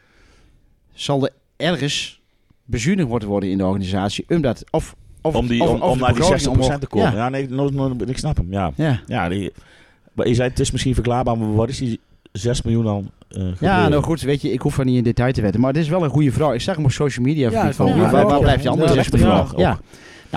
zal er ergens bezuinigd worden, worden in de organisatie. Omdat, of, of,
Om, die,
of-
om,
of
om
de
naar die 60%
begroting omhoog-
te komen. Ja,
Ja,
nee, no- no- ik snap hem. Ja,
ja.
ja die, maar je zei, het is misschien verklaarbaar, maar wat is die 6 miljoen dan? eh
ja,
gebeuren?
nou goed, weet je, ik hoef er niet in detail te weten. Maar dit is wel een goede vrouw. Ik zag hem op social media. van
Ja,
die
is wel
van,
een
waar,
goede
waar
vrouw.
blijft die
Ja,
andere
dat is
rechter
een
ja.
vraag ook.
ja.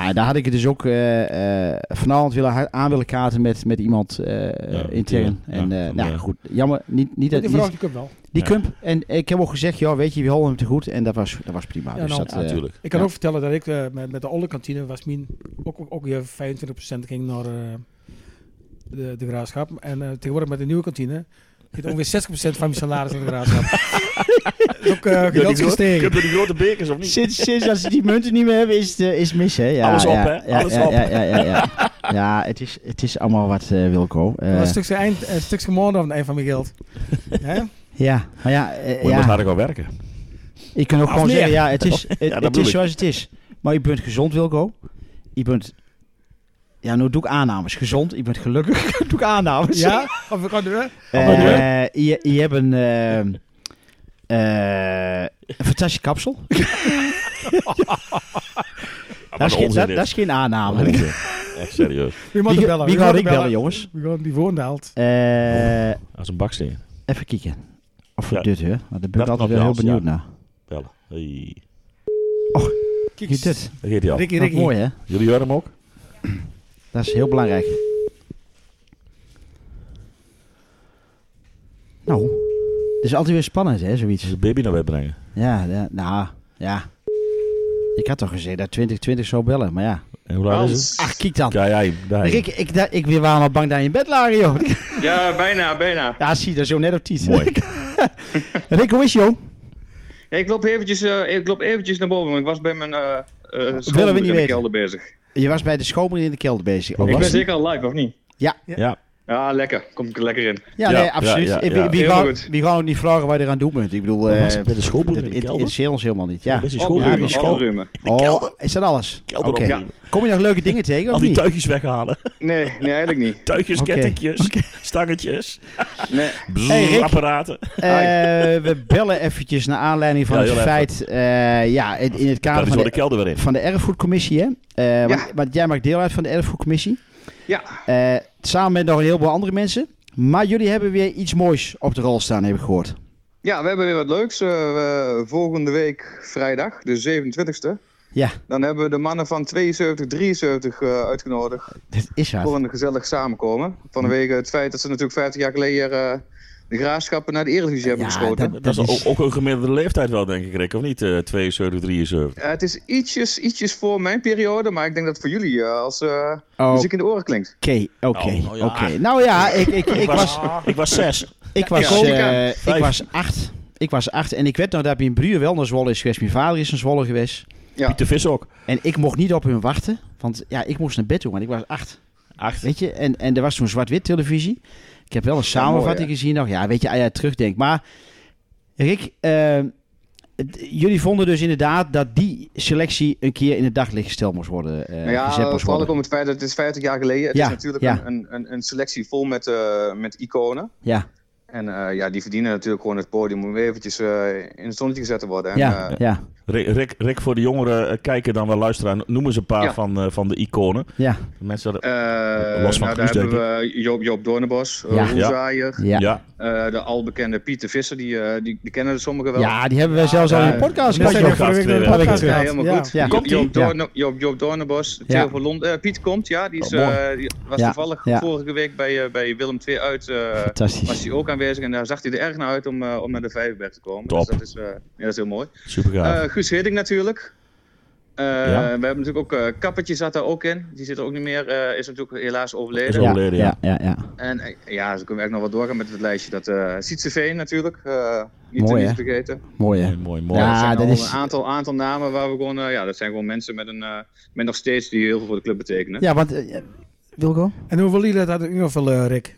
Nou, daar had ik het dus ook eh, eh, vanavond willen, aan willen kaarten met, met iemand eh, intern.
ja,
en eh,
van,
nou
eh,
goed, jammer, niet, niet, dat
Die
niet-
vraag die ik wel.
Die
Ja.
kump. En ik heb ook gezegd, ja, weet je, we houden hem te goed. En dat was, dat was prima.
Ja,
dus
nou,
dat,
Ja,
eh,
natuurlijk.
Ik kan
Ja.
ook vertellen dat ik eh, met, met de oude kantine was min ook, ook, ook weer 25% ging naar eh, de, de graafschap. En eh, tegenwoordig met de nieuwe kantine zit ongeveer 60% van mijn salaris in de graafschap. dat is ook eh
Ja, die
geweldig
gro-
gestegen.
Hebben die grote bekers of niet?
Sinds, sinds als ze die munten niet meer hebben, is het eh, is het mis, hè? Ja,
Alles op,
ja,
hè?
Ja,
Alles
ja,
op.
Ja, ja, ja, ja. ja het, is, het is allemaal wat, eh, Wilco. Eh,
Dat was een stukje, eind, een stukje maand aan het eind van mijn geld. Hè?
ja, maar ja, eh,
Moet je maar
ja.
harder gaan werken.
ik kan ook gewoon
meer.
zeggen, ja, het is, het,
dat
het
bedoel
is
ik.
zoals het is. Maar je bent gezond, Wilco. Je bent... Ja, nu doe ik aannames. Gezond, je bent gelukkig. doe ik aannames.
Ja? Of we gaan doen?
Eh, je, je hebt een, eh, eh, een fantastische kapsel. dat, is
Ah, een
geen,
onzin
dat,
dit.
dat is geen aanname.
Onzin. Echt serieus.
Wie moet
Wie,
er bellen?
wie gaat ik
er
bellen, jongens?
Wie gaat die woondaalt?
Eh,
Als een baksteen.
even kijken. Of we
Ja.
dit, hè? Want daar ben ik
Dat
altijd
klopt,
wel heel
Jans,
benieuwd naar.
Bellen. Hey.
Kijk dit. Dat
Daar gaat hij al.
Ricky,
is
Ricky.
mooi, hè?
Jullie horen hem ook?
Dat is heel belangrijk. Nou, het is altijd weer spannend, hè, zoiets.
Dus de baby naar bed brengen.
Ja, ja, nou, ja. Ik had toch gezegd dat 2020 zou bellen, maar ja.
En hoe laat is het?
Ach, kijk dan.
Ja, jij. daar.
Rick, ik, da- ik weer waren al bang dat je in bed lagen, joh.
Ja, bijna, bijna.
Ja, zie, dat is zo net op tiet.
Mooi.
Rick, hoe is het, joh?
Ja, ik, loop eventjes, eh, ik loop eventjes naar boven, want ik was bij mijn eh eh, schoonmoeder
niet
in de
weten.
kelder bezig.
Je was bij de schoonmoeder in de kelder bezig.
Ik
Ik
Was
ben
die?
zeker al live, of niet?
Ja.
Ja, lekker. Kom ik er lekker in.
Ja,
Ja,
nee, absoluut.
ja, ja,
Wie-
ja.
Wie,
Heel
wou-
goed.
wie gewoon niet vragen waar je eraan doet bent. Ik bedoel,
Wat
eh,
was het met de schoolboer in de
het- het- het
kelder?
interesseert ons helemaal niet. Ja.
Dat is een
ja,
schoolruimte.
die school-
Opruimen.
Oh,
kelder.
is dat alles?
Kelder
Oké.
opruimen.
Kom je nog leuke dingen tegen
Al
of
die
niet?
tuigjes weghalen.
Nee, nee, eigenlijk niet.
Tuigjes,
Oké.
kettingjes, stangetjes,
Nee.
bzzz,
Hey, Rick.
apparaten.
Eh, we bellen eventjes naar aanleiding van
Ja,
het
heel
feit... eh, ja, in, in het kader
Daar is
van
wel de
de,
kelder weer in.
van de erfgoedcommissie, hè? Eh, want,
Ja.
want jij maakt deel uit van de erfgoedcommissie.
Ja,
Eh, samen met nog een heleboel andere mensen. Maar jullie hebben weer iets moois op de rol staan, heb ik gehoord.
ja, we hebben weer wat leuks. Eh, we- volgende week vrijdag, de 27e.
Ja,
Dan hebben we de mannen van 72, 73 eh, uitgenodigd
dat is hard.
voor een gezellig samenkomen. Vanwege het feit dat ze natuurlijk 50 jaar geleden eh, de graafschappen naar de Eredivisie hebben
Ja,
geschoten.
dat-
Dat is
Dat
ook,
is-
ook een gemiddelde leeftijd wel, denk ik, Rick. Of niet? Eh 72, 73.
Eh, het is ietsjes, ietsjes voor mijn periode, maar ik denk dat het voor jullie eh, als eh,
Oké,
Dus
muziek in de oren klinkt.
oké,
Oh, oh ja.
oké. Nou ja, ik, ik, ik,
Ik
was,
was, ik was zes.
ik, was,
kom ik
eh,
aan.
ik
Vijf.
was acht. Ik was acht en ik weet nog dat mijn broer wel naar Zwolle is geweest. Mijn vader is naar Zwolle geweest.
Ja,
Piet de Vis ook.
En ik mocht niet op hun wachten, want ja, ik moest naar bed toe, want ik was acht.
Acht.
Weet je, en, en er was toen zwart-wit televisie. Ik heb wel een samenvatting
mooi,
gezien nog. Ja, weet je, als je terugdenkt. Maar Rick, eh, d- jullie vonden dus inderdaad dat die selectie een keer in het daglicht gesteld moest worden. eh,
Nou
gezet
ja,
moest
vooral ook
worden.
om het feit dat het is 50 jaar geleden. Het
Ja,
is natuurlijk
ja.
een, een, een selectie vol met, eh, met iconen.
Ja,
En eh, ja, die verdienen natuurlijk gewoon het podium om eventjes eh, in het zonnetje gezet te worden. En,
ja,
eh,
ja,
Rick, Rick, Rick, voor de jongeren eh, kijken dan wel luisteren. Noem eens een paar
Ja.
van, eh, van de iconen.
ja,
Mensen, hadden-
eh,
Los van
nou, daar
Guus,
hebben we Joop, Joop Doornbos,
Ja.
eh, Roelzaaier,
ja. ja.
ja.
eh, de albekende Pieter Visser, die, eh, die, die kennen er sommigen wel.
die hebben wij zelfs al in de
ja.
podcast
Net
gehad,
zijn
je
we
gaat
joh.
vorige week
twee
door de
weken.
podcast
Ja,
gehad.
helemaal
Ja.
goed.
Ja.
Jo-
Komt-ie?
Joop,
Ja.
Doorn, Joop, Joop Doornbos,
Ja.
Theo van Lond, eh, Piet komt, ja, die, is,
Oh, mooi.
eh, die was
Ja,
toevallig
ja.
vorige week bij, eh, bij Willem II uit. eh, was
Fantastisch.
hij ook aanwezig en daar zag hij er erg naar uit om, eh, om naar de Vijverberg te komen.
Top.
Dus dat is, eh, ja, dat is heel mooi.
Super gaaf.
Eh, Guus Hiddink natuurlijk. Eh,
Ja.
We hebben natuurlijk ook eh Kappertje zat daar ook in. Die zit er ook niet meer. eh, is natuurlijk helaas overleden.
Is
Ja,
overleden, ja.
ja, ja, ja.
En eh, ja, ze kunnen we echt nog wat doorgaan met het lijstje. Dat eh Sietse Veen natuurlijk. eh, niet
Mooi,
te
hè?
niet vergeten.
Mooi, hè?
mooi, mooi, mooi.
Ja.
Er zijn
dat
al
is-
een aantal, aantal namen waar we gewoon. eh, ja, dat zijn gewoon mensen met, een, eh, met nog steeds die heel veel voor de club betekenen.
Ja, want... eh, Wilco?
En hoe willen jullie dat invullen, Rick?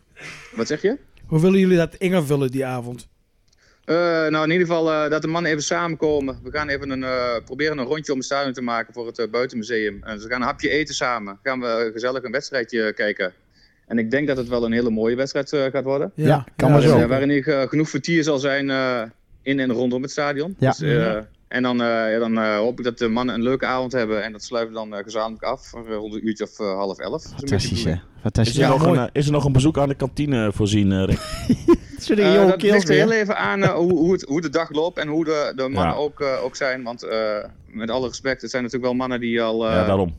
Wat zeg je?
Hoe willen jullie dat invullen die avond?
Eh, nou, in ieder geval eh, dat de mannen even samenkomen. We gaan even een, eh, proberen een rondje om het stadion te maken voor het eh, buitenmuseum. En ze gaan een hapje eten samen. Gaan we eh, gezellig een wedstrijdje kijken. En ik denk dat het wel een hele mooie wedstrijd eh, gaat worden.
Ja, kan maar
Dus,
zo.
eh, waarin hier eh, genoeg vertier zal zijn eh, in en rondom het stadion.
Ja.
Dus, eh,
Mhm.
en dan, eh, ja, dan eh, hoop ik dat de mannen een leuke avond hebben. En dat sluiten we dan eh, gezamenlijk af voor, eh, rond een uurtje of eh, half elf. Dat is een beetje de
Fantastisch, hè?
bedoeling.
Is
Fantastisch.
er, nog
mooi.
een, eh, is er nog een bezoek aan de kantine voorzien, eh, Rick?
Zullen
Eh,
die jonge
dat
kerels
ligt er
weer?
heel even aan eh, hoe, hoe, het, hoe de dag loopt en hoe de, de mannen
Ja.
ook, eh, ook zijn. Want eh, met alle respect, het zijn natuurlijk wel mannen die al, eh,
ja, daarom.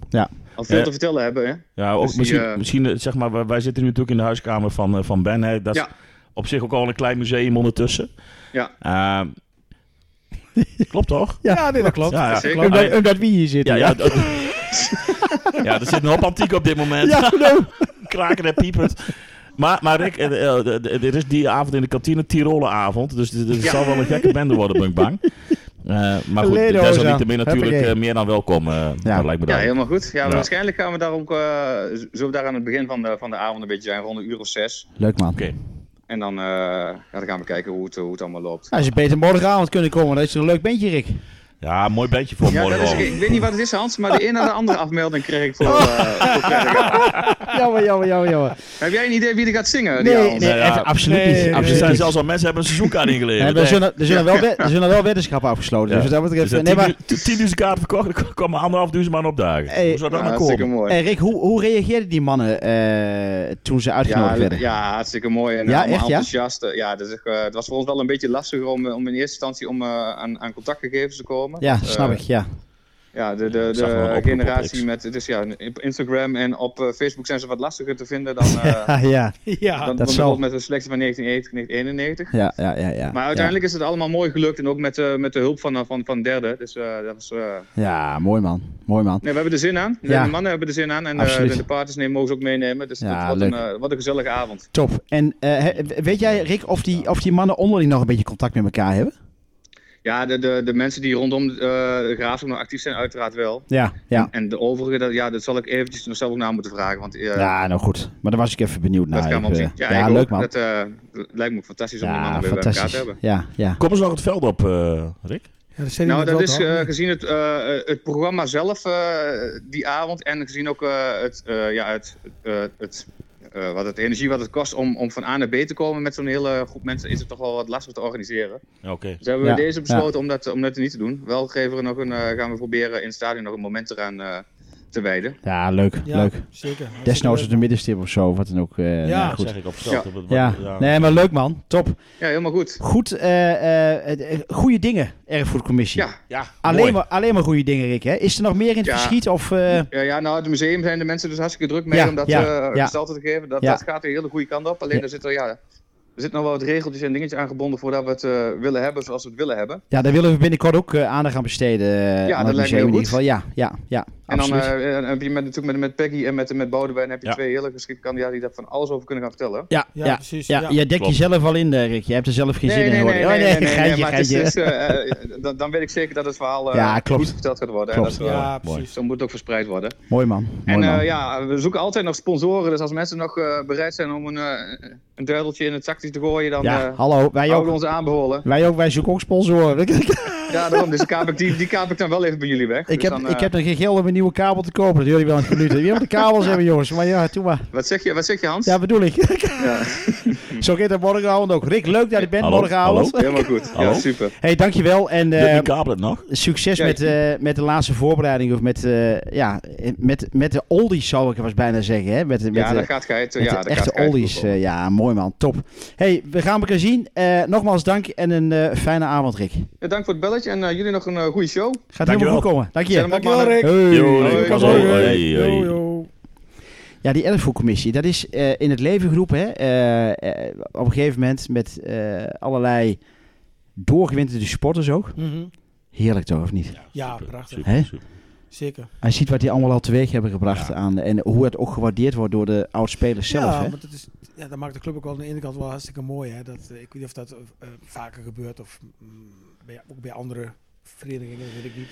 al veel
Ja.
te vertellen hebben. Hè?
Ja, ook
Dus die,
misschien,
eh,
misschien eh, zeg maar, wij- wij zitten nu natuurlijk in de huiskamer van, eh, van Ben. Hè. Dat is
Ja.
op zich ook al een klein museum ondertussen.
Ja.
Ehm, klopt toch?
Ja, nee, dat klopt.
Ja, ja.
Zeker.
Ah,
Omdat,
ja.
omdat wie hier
Ja,
zitten.
ja, dat- ja, er zit een hoop antiek op dit moment.
Ja, nou.
Kraken en piepend. Maar, maar Rick, eh, eh, eh, eh, er is die avond in de kantine Tirolenavond. Dus het het
Ja.
zal wel een gekke bende worden, ben ik bang. Eh, maar goed,
Ledo,
desalniettemin
zo.
natuurlijk
Huppakee.
eh, meer dan welkom. eh
Ja.
Dat lijkt me
Ja,
dan.
helemaal goed. Ja,
Ja.
Waarschijnlijk gaan we daar ook, eh, z- zullen we daar aan het begin van de, van de avond een beetje zijn, rond een uur of zes.
Leuk, man.
Oké.
En dan, eh, ja, dan gaan we kijken hoe het, hoe het allemaal loopt.
Nou, ze beter morgenavond kunnen komen. Dat is een leuk bandje, Rick.
Ja, mooi bandje voor
Ja, dat
morgen.
is,
ook.
ik weet niet wat het is, Hans, maar de een naar de andere afmelding kreeg ik voor. eh, voor Kerk.
Jammer, jammer, jammer, jammer.
Heb jij een idee wie er gaat zingen? die
Nee,
avond?
nee,
Nou ja,
echt absoluut
nee,
niet.
nee,
Er
absoluut
zijn
niet.
zelfs al mensen hebben een seizoenkaart
Nee,
ingeleverd.
maar er,
Nee.
zullen, er, zullen wel wed- er zullen wel weddenschappen afgesloten. Dus wat dat betreft...
Dus dat
nee, maar,
10 10.000 kaart verkocht, dan kwamen anderhalf duizend man opdagen.
Hey.
Hoe zou dat
Ja,
nou
hartstikke
komen?
mooi.
eh, Rick, hoe, hoe reageerden die mannen eh, toen ze uitgenodigd
Ja,
werden?
ja, hartstikke mooi. En
Ja,
ja, allemaal
echt, ja?
enthousiast. Ja, dat is, echt, eh, het was voor ons wel een beetje lastiger om, eh, om in eerste instantie om, eh, aan, aan contactgegevens te komen.
Ja,
Eh,
snap ik, ja.
Ja, de, de,
zag wel een
de
oproep op X.
generatie met dus ja, op Instagram en op eh, Facebook zijn ze wat lastiger te vinden dan, eh,
Ah, ja.
Ja,
dan, dan
zal.
bijvoorbeeld met de selectie van 1980, 1991.
Ja, ja, ja, ja.
Maar uiteindelijk is het allemaal mooi gelukt en ook met, eh, met de hulp van, eh, van, van derden. Dus eh, dat was, eh,
Ja, Ja, mooi man. Mooi man.
nee, we hebben er zin aan.
Ja.
De mannen hebben er zin aan en eh,
Absoluut.
de, de partners nemen mogen ze ook meenemen. Dus
Ja,
dat, wat, een,
leuk.
eh, wat een gezellige avond.
Top. En eh, he- weet jij, Rick, of die, of die mannen onderling nog een beetje contact met elkaar hebben?
Ja, de, de, de mensen die rondom eh, de graafschap nog actief zijn, uiteraard wel.
Ja, ja.
En de overige, dat, ja, dat zal ik eventjes nog zelf ook na moeten vragen. Want eh,
Ja, nou goed. Maar daar was ik even benieuwd naar.
dat kan wel
Ik,
zien.
eh, ja,
ik
leuk
ook.
man.
Dat eh, lijkt me ook fantastisch om die
ja,
mannen weer bij elkaar te
fantastisch.
hebben.
Ja, ja.
Kom eens nog het veld op, eh, Rick.
Ja, dat zei hij
Nou,
net
dat
wel,
is
toch?
eh, gezien het, eh, eh, het programma zelf eh, die avond en gezien ook eh, het, eh, ja, het, eh, het, eh, wat het energie wat het kost om, om van A naar B te komen met zo'n hele groep mensen, is het toch wel wat lastig te organiseren.
Ja, oké.
Dus hebben we
Ja,
deze besloten om, dat, om dat niet te doen. Wel geven we nog een, eh, gaan we proberen in het stadion nog een moment eraan eh, te wijden.
Ja, leuk,
Ja,
eh, leuk.
Zeker.
Desnoods op de middenstip of zo, wat dan ook. eh,
Ja,
nou,
Dat
goed.
zeg ik op het veld.
Ja.
Op het-
Ja,
ja.
nee, maar leuk man. Top.
Ja, helemaal goed.
Goed, eh, eh, eh, goede dingen, Erfgoedcommissie.
Ja.
Ja, mooi.
Alleen maar, alleen maar goede dingen, Rick. Hè? Is er nog meer in het
Ja.
verschiet? Of, eh,
Ja, ja, nou, het museum zijn de mensen dus hartstikke druk mee
Ja,
om dat
ja,
eh,
ja.
gestalte te geven. Dat,
Ja.
dat gaat de hele goede kant op. Alleen
Ja.
er zitten ja, er zitten nog wel wat regeltjes en dingetjes aangebonden voordat we het eh, willen hebben zoals we het willen hebben.
ja, daar willen we binnenkort ook eh, aandacht aan besteden. eh,
Ja,
aan
dat
het
lijkt me
museum in
heel
ieder geval. Ja, ja, ja.
En dan
absoluut.
eh, en heb je met, natuurlijk met, met Peggy en met, met Boudewijn heb je
Ja.
twee hele geschikte kandidaten die daar van alles over kunnen gaan vertellen.
ja, ja,
Ja,
ja,
precies.
ja,
ja.
Jij dekt
Klopt.
jezelf al in, eh, Rick. Je hebt er zelf geen zin in. hoor. Oh, geintje,
maar het is,
geintje.
het is, eh, eh, dan, dan weet ik zeker dat het verhaal eh,
Ja, klopt.
goed verteld gaat worden.
Klopt.
En dat, eh,
Ja,
Mooi.
precies.
Zo moet het ook verspreid worden.
Mooi man.
En
mooi man.
eh, ja, we zoeken altijd nog sponsoren. Dus als mensen nog eh, bereid zijn om een, eh, een duideltje in het zakje te gooien, dan
ja,
eh,
hallo. Wij
houden we
ook,
ons aanbevolen.
wij ook. Wij zoeken ook sponsoren.
Ja, daarom. Dus die kaap ik, die, die kaap ik dan wel even bij jullie weg.
Ik
Dus
heb,
dan, eh,
ik heb nog geen geld om een nieuwe kabel te kopen. Dat jullie wel een minuut. Jullie moeten kabels hebben, jongens. Maar ja, doe maar.
wat, zeg je, wat zeg je, Hans?
Ja, bedoel ik.
Ja.
Zo gaat het morgenavond ook. Rick, leuk dat je bent
Hallo,
morgenavond.
Helemaal goed.
Hallo?
Ja, super.
hey, dankjewel. En
Doet
eh,
die kabel het nog?
succes
Ja,
met, eh, met de laatste voorbereiding. Of met, eh, ja, met, met de oldies, zou ik was bijna zeggen. Hè? Met, de- met,
Ja,
de-
daar gaat gij het.
met
Ja,
de
daar
echte
gaat gij het
oldies.
goed op.
eh, ja, mooi man. Top. hey, we gaan elkaar zien. Eh, nogmaals dank en een eh, fijne avond, Rick.
Ja, dank voor het belletje en eh, jullie nog een eh, goede show.
Gaat
Dankjewel.
helemaal goed komen. Dank
Zet hem
je.
op,
Dankjewel,
mannen.
Rick.
Hey.
Yo,
Rick.
Pas
Hoi,
op,
hoi,
Rick.
hoi.
Yo, yo.
Ja, die erfgoedcommissie, dat is eh, in het leven geroepen. Hè? Eh, eh, op een gegeven moment met eh, allerlei doorgewinterde sporters ook.
Mhm.
Heerlijk toch, of niet?
Ja,
Super,
prachtig.
Hè? Nou,
Super, super.
Zeker.
Hij ziet wat die allemaal al teweeg hebben gebracht aan, en hoe het ook gewaardeerd wordt door de oudspelers zelf.
ja,
hè?
want dat, is, ja, dat maakt de club ook wel aan de ene kant wel hartstikke mooi. Hè? Dat, eh, ik weet niet of dat eh, eh, vaker gebeurt of mm, bij, ook bij andere verenigingen, dat weet ik niet.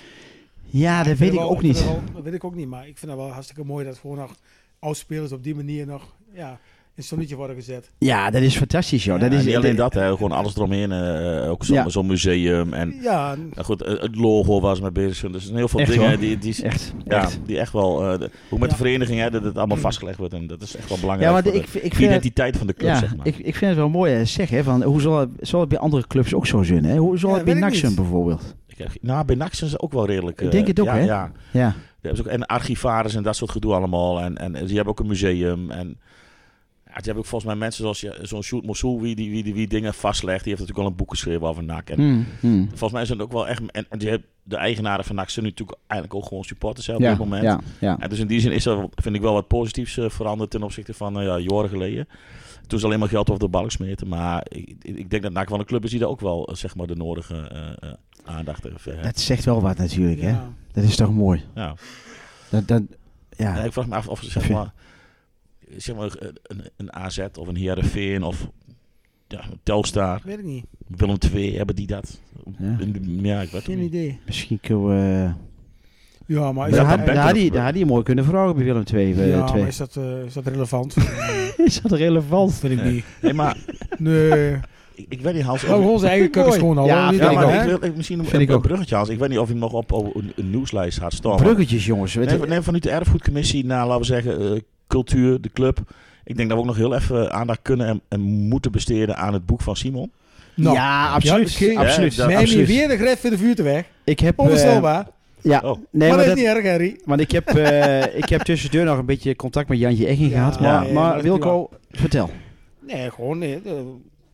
Ja, dat
vind
weet ik
wel-
ook
vind
niet.
dat wel- dat weet ik ook niet, maar ik vind het wel hartstikke mooi dat gewoon nog oudspelers op die manier nog ja, in het zonnetje worden gezet.
Ja, dat is fantastisch, joh.
Ja,
dat is,
niet alleen
dat-
dat, hè. gewoon alles eromheen. eh, ook zo'n
Ja.
zo'n museum. En
Ja, en-
nou goed, eh, het logo waar ze mee bezig zijn. Dus er zijn heel veel
Echt
dingen
hoor.
die, die,
Echt,
ja,
echt.
die echt wel. eh, de- ook met
Ja.
de vereniging, hè, dat het allemaal vastgelegd wordt. En dat is echt wel
Ja,
belangrijk.
maar
voor
ik,
de
ik vind het...
identiteit van de club,
Ja,
zeg maar.
ik, ik vind het wel mooi eh, zeg, hè, van hoe zal het, zal het bij andere clubs ook zo zijn? Hè? Hoe zal
Ja,
het bij
weet ik
NAC zijn
niet.
bijvoorbeeld?
Ik heb- nou, bij NAC zijn ze ook wel redelijk.
Ik
eh,
denk het ook,
ja, Ja.
hè? Ja,
Daar hebben ze ook, en archivaris en dat soort gedoe allemaal. En, en die hebben ook een museum. En ja, die hebben ook volgens mij mensen zoals je- zo'n Sjoerd Mossou, wie, die, wie, die, wie dingen vastlegt. Die heeft natuurlijk al een boek geschreven over NAC. En
Hmm, hmm.
volgens mij zijn het ook wel echt... En, en die hebben- de eigenaren van NAC zijn nu natuurlijk eigenlijk ook gewoon supporters hè, op
ja,
dit moment.
ja, ja.
En dus in die zin is er, vind ik wel wat positiefs eh, veranderd ten opzichte van eh, ja, jaren geleden. Toen ze alleen maar geld over de balk smeten. Maar ik, ik denk dat NAC wel een club is die daar ook wel eh, zeg maar, de nodige eh, eh, aandacht heeft. eh.
Dat zegt wel wat natuurlijk, hè?
ja.
Dat is toch mooi?
Ja.
Dat, dat,
Ja,
ja.
ik vraag me af of ze zeg
Vind-
maar, zeg maar eh, een, een AZ of een Heerenveen of ja, Telstar,
weet ik niet.
Willem II, hebben die dat?
Ja.
Ja, ja ik weet het
Geen
niet.
idee.
Misschien kunnen we...
Ja, maar is
Daar
dat dan
had- daar
beter?
had hij- daar had hij mooi kunnen vragen bij Willem 2.
ja, maar is dat, eh, is dat relevant?
Is dat relevant?
vind ik niet.
Nee, maar
Nee.
ik, ik weet niet,
Oh,
Hans. of-
Ook Nou, onze eigen kukkens gewoon al.
Ja,
hoor. Niet
ja,
vind
maar
denken,
ik
hè?
wil ik, misschien
Vind
een,
ik
een
ook.
bruggetje, Hans. Ik weet niet of hij nog op, op een, een nieuwslijst gaat staan. maar-
Bruggetjes, jongens. Weet
Nee,
je-
van- nee, vanuit de erfgoedcommissie naar, laten we zeggen, eh, cultuur, de club. Ik denk dat we ook nog heel even eh, aandacht kunnen en, en moeten besteden aan het boek van Simon.
Nou,
ja, absoluut.
Ja, oké.
absoluut.
Nee,
neem
absoluut.
je weer de gref in de vuurte weg.
Ik heb... eh,
Onvoorstelbaar.
ja,
Oh.
nee,
maar
maar
dat is
dat,
niet erg, Harry.
want ik heb, eh, ik heb tussendoor nog een beetje contact met Jantje Egging
Ja,
gehad.
ja, ja,
Maar,
maar dat
maar
is
Wilco, vertel.
Nee, gewoon niet. Eh,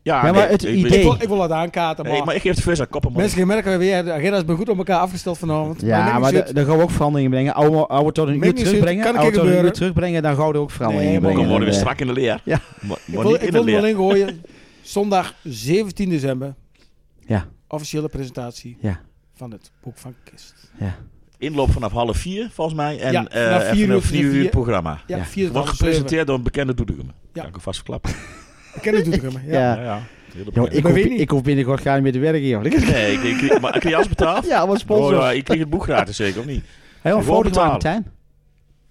Ja,
maar het
ik-
idee-
Ik,
Ik wil, ik wil dat aankaarten, maar,
nee, maar ik geef het first aan koppen. man.
mensen gaan merken weer, de agenda's zijn goed op elkaar afgesteld vanavond.
Ja, maar
niks
da- daar gaan we ook veranderingen brengen. Oude, oude tot een uur
Menging zit,
terugbrengen.
kan een
oude
keer
tot een uur
gebeuren.
terugbrengen, dan gaan we er ook veranderingen
Nee,
in
maar-
Dan
brengen. Eh,
worden we
En,
strak in de leer.
Ja.
Maar,
zit.
maar
ik wil,
niet
ik
in
wil
de
hem
leer.
alleen gooien. Zondag 17 december,
eh, Ja,
officiële presentatie
ja,
van het boek van Kist.
ja.
Inloop vanaf half vier, volgens mij. En
Ja,
eh,
vanaf
even
vier
een
uur tot
vier uur
vier.
programma.
Ja,
Ja.
24
Wordt
van zeven.
gepresenteerd door een bekende Doetinchem. Ja.
Ja.
Kan ik alvast verklappen.
Ik ken het Doetinchem, ja.
Ja.
Ja, ja. Hele
Jongen, ik,
bekend.
hoef,
Maar weet niet.
ik hoef binnenkort gaan meer te werken hier. want ik-
Nee, ik, ik, ik- maar kreeg je alles betaald?
Ja, wat
Oh,
sponsor.
ja, je kreeg het boek gratis zeker, of niet?
Heel een
Gewoon
foto
betalen.
maken, Tijn.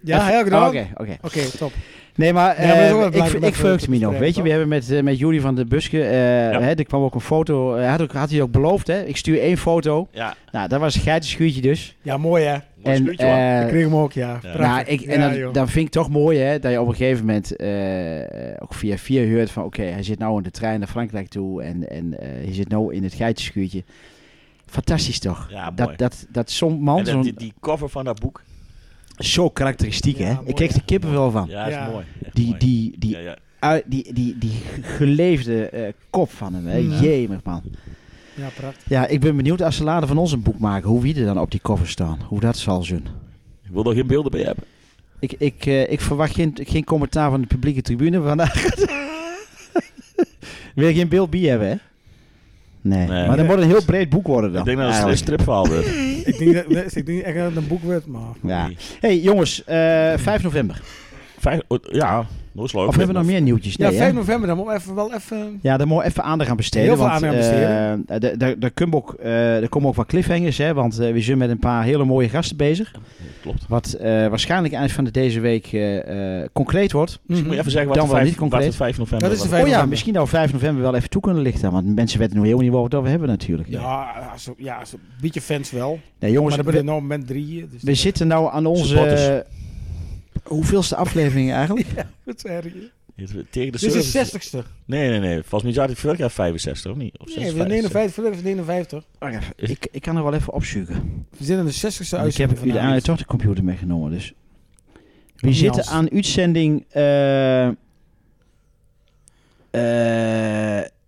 Ja, heel
Oh, Oké,
gedaan. Ah, Oké,
oké.
top.
Nee, maar,
Ja, maar dat is ook wel
eh, ik,
belangrijk om
ik
even
verheugde
te
me nog.
bespreken,
Weet je, we hebben met, eh, met Jury van de Buske, eh,
Ja.
hè, er kwam ook een foto. eh, had, ook, had hij ook beloofd, hè? Ik stuur één foto.
Ja,
Nou, dat was een geitenschuurtje dus.
Ja, mooi hè.
mooi
en
spuurtje, man.
eh,
Ik kreeg hem ook, ja.
nou,
Prachtig.
ik, en
Ja,
dan,
joh.
dan vind ik toch mooi hè, dat je op een gegeven moment eh, ook via via hoort van oké, hij zit nou in de trein naar Frankrijk toe en, en eh, hij zit nou in het geitenschuurtje. Fantastisch toch?
Ja, mooi.
dat, dat, dat zo'n man,
En dat-
zo'n-
eh, die, die cover van dat boek,
zo karakteristiek
Ja,
hè.
mooi,
ik kreeg de
hè?
kippen wel van.
ja, dat
Ja.
is mooi. Echt
Die,
mooi.
die, die,
Ja, ja.
uit- die, die, die geleefde eh, kop van hem, hè.
Ja.
Jemig man.
Ja, prachtig.
Ja, ik ben benieuwd als ze later van ons een boek maken, hoe wie er dan op die cover staan. Hoe dat zal zijn.
Ik wil er geen beelden bij hebben.
Ik, ik, eh, ik verwacht geen, geen commentaar van de publieke tribune vandaag. Wil je geen beeld bier hebben, hè? Nee.
Nee.
Maar dan moet een heel breed boek worden dan.
ik denk dat het een
eigenlijk.
stripverhaal wordt.
ik denk dat- nee, ik denk echt dat het een boek werd, maar...
Ja. hey, jongens, eh 5 november.
Vijf, oh, ja, dat is leuk.
Of hebben we nog meer nieuwtjes?
Ja,
Nee, hè?
5 november, dan moet ik even wel even...
Ja, daar moet even aandacht aan besteden.
Heel veel
want,
aandacht aan besteden.
eh, daar- daar- daar komen ook, eh, daar komen ook wat cliffhangers, hè. Want eh, we zijn met een paar hele mooie gasten bezig.
Klopt. Dus
Wat eh, waarschijnlijk eind van de deze week eh, eh, concreet wordt.
Dus
Mhm.
moet je even zeggen
Dan
wat, de
wel
vijf-
niet concreet.
wat het 5 november
Dat is de
was.
Oh ja,
november.
misschien nou 5 november wel even toe kunnen lichten. Want mensen weten nu heel niet waar we het over hebben natuurlijk.
Ja, als, ja als, een beetje fans wel.
Nee, jongens,
Maar er
we,
zijn nou moment drie hier. Dus
we zitten nou aan onze...
Supporters.
hoeveelste aflevering eigenlijk?
Wat zeg je?
Tegen de
Dit is
service.
de 60ste.
Nee, nee, nee. Volgens mij zat ik vorig jaar 61, of niet? Of
Nee,
56.
we 59, vorig is 59.
Wacht even, ik, ik kan er wel even opzoeken.
We zitten in de 60ste
Ik heb
uitzending
u de ah,
vanavond.
toch de computer meegenomen, dus... We
Niet
zitten
als-
aan uitzending... eh, eh,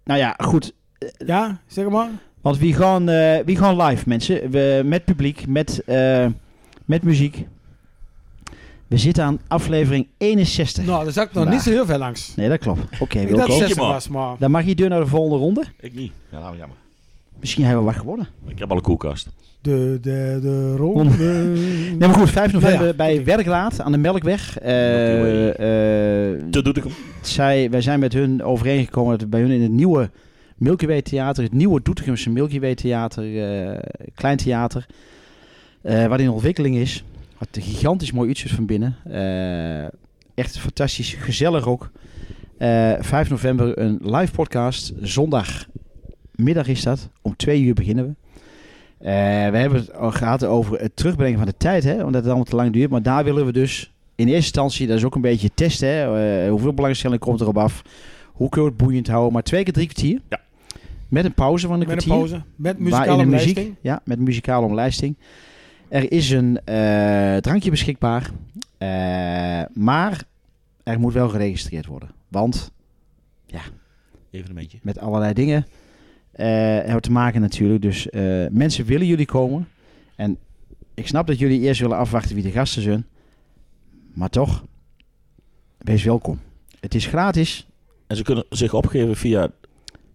nou ja, goed.
Ja, zeg maar.
Want we gaan, eh, we gaan live, mensen. We, met publiek, met, eh, met muziek. We zitten aan aflevering 61.
Nou, daar zat ik nog
Nou.
niet zo heel ver langs.
Nee, dat klopt. Oké,
Ik dacht
Wilco.
60
man.
was, maar...
Dan mag je deur naar de volgende ronde.
Ik niet. Ja, nou, jammer.
Misschien hebben we wat gewonnen.
Ik heb al een koelkast.
De, de, de ronde.
Nee, maar goed, 5 november
Nou ja,
bij Werklaat aan de Melkweg. Eh,
Milky
eh,
Dat doet ik hem. zij
zij, wij zijn met hun overeengekomen dat we bij hun in het nieuwe Milky Way Theater, het nieuwe Doetinchemse Milky Way Theater, eh, klein theater, eh, wat in ontwikkeling is. Wat een gigantisch mooi uitzicht van binnen. Eh, echt fantastisch, gezellig ook. Eh, 5 november een live podcast. Zondagmiddag is dat. Om twee uur beginnen we. Eh, we hebben het al gehad over het terugbrengen van de tijd, hè, omdat het allemaal te lang duurt. Maar daar willen we dus in eerste instantie, dat is ook een beetje testen. Hè? Eh, hoeveel belangstelling komt erop af? Hoe kun je het boeiend houden? Maar twee keer drie kwartier.
Ja.
Met een pauze van een
Met een
kwartier.
pauze. Met
waarin
muzikale
de
omlijsting.
Ja, met muzikale omlijsting. Er is een eh, drankje beschikbaar. Eh, maar er moet wel geregistreerd worden. Want
Even een beetje.
met allerlei dingen eh, hebben we te maken natuurlijk. Dus eh, mensen willen jullie komen. En ik snap dat jullie eerst willen afwachten wie de gasten zijn. Maar toch, wees welkom. Het is gratis.
En ze kunnen zich opgeven via...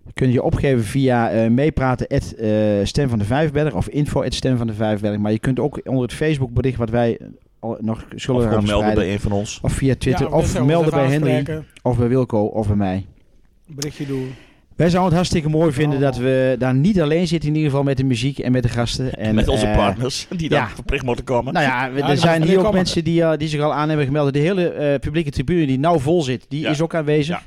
Je kunt je opgeven via eh, meepraten at, eh, Stem van de Vijfberg of info at Stem van de Vijfberg. Maar je kunt ook onder het Facebook bericht wat wij eh, al- nog
Of
zullen gaan
gewoon melden
verspreiden.
bij een van ons.
Of via Twitter,
Ja, dus
of
zelfs
melden
even
bij Henry,
aanspreken,
of bij Wilco, of bij mij.
Berichtje doen.
Wij zouden het hartstikke mooi vinden dat
Allemaal.
we daar niet alleen zitten, in ieder geval met de muziek en met de gasten. En,
met onze
eh,
partners, die dan
ja.
verplicht moeten komen.
Nou ja, we-
Ja,
er
die
zijn
gaan
hier ook
komen.
mensen die, eh, die zich al aan hebben gemeld. De hele eh, publieke tribune die nou vol zit, die
Ja.
is ook aanwezig.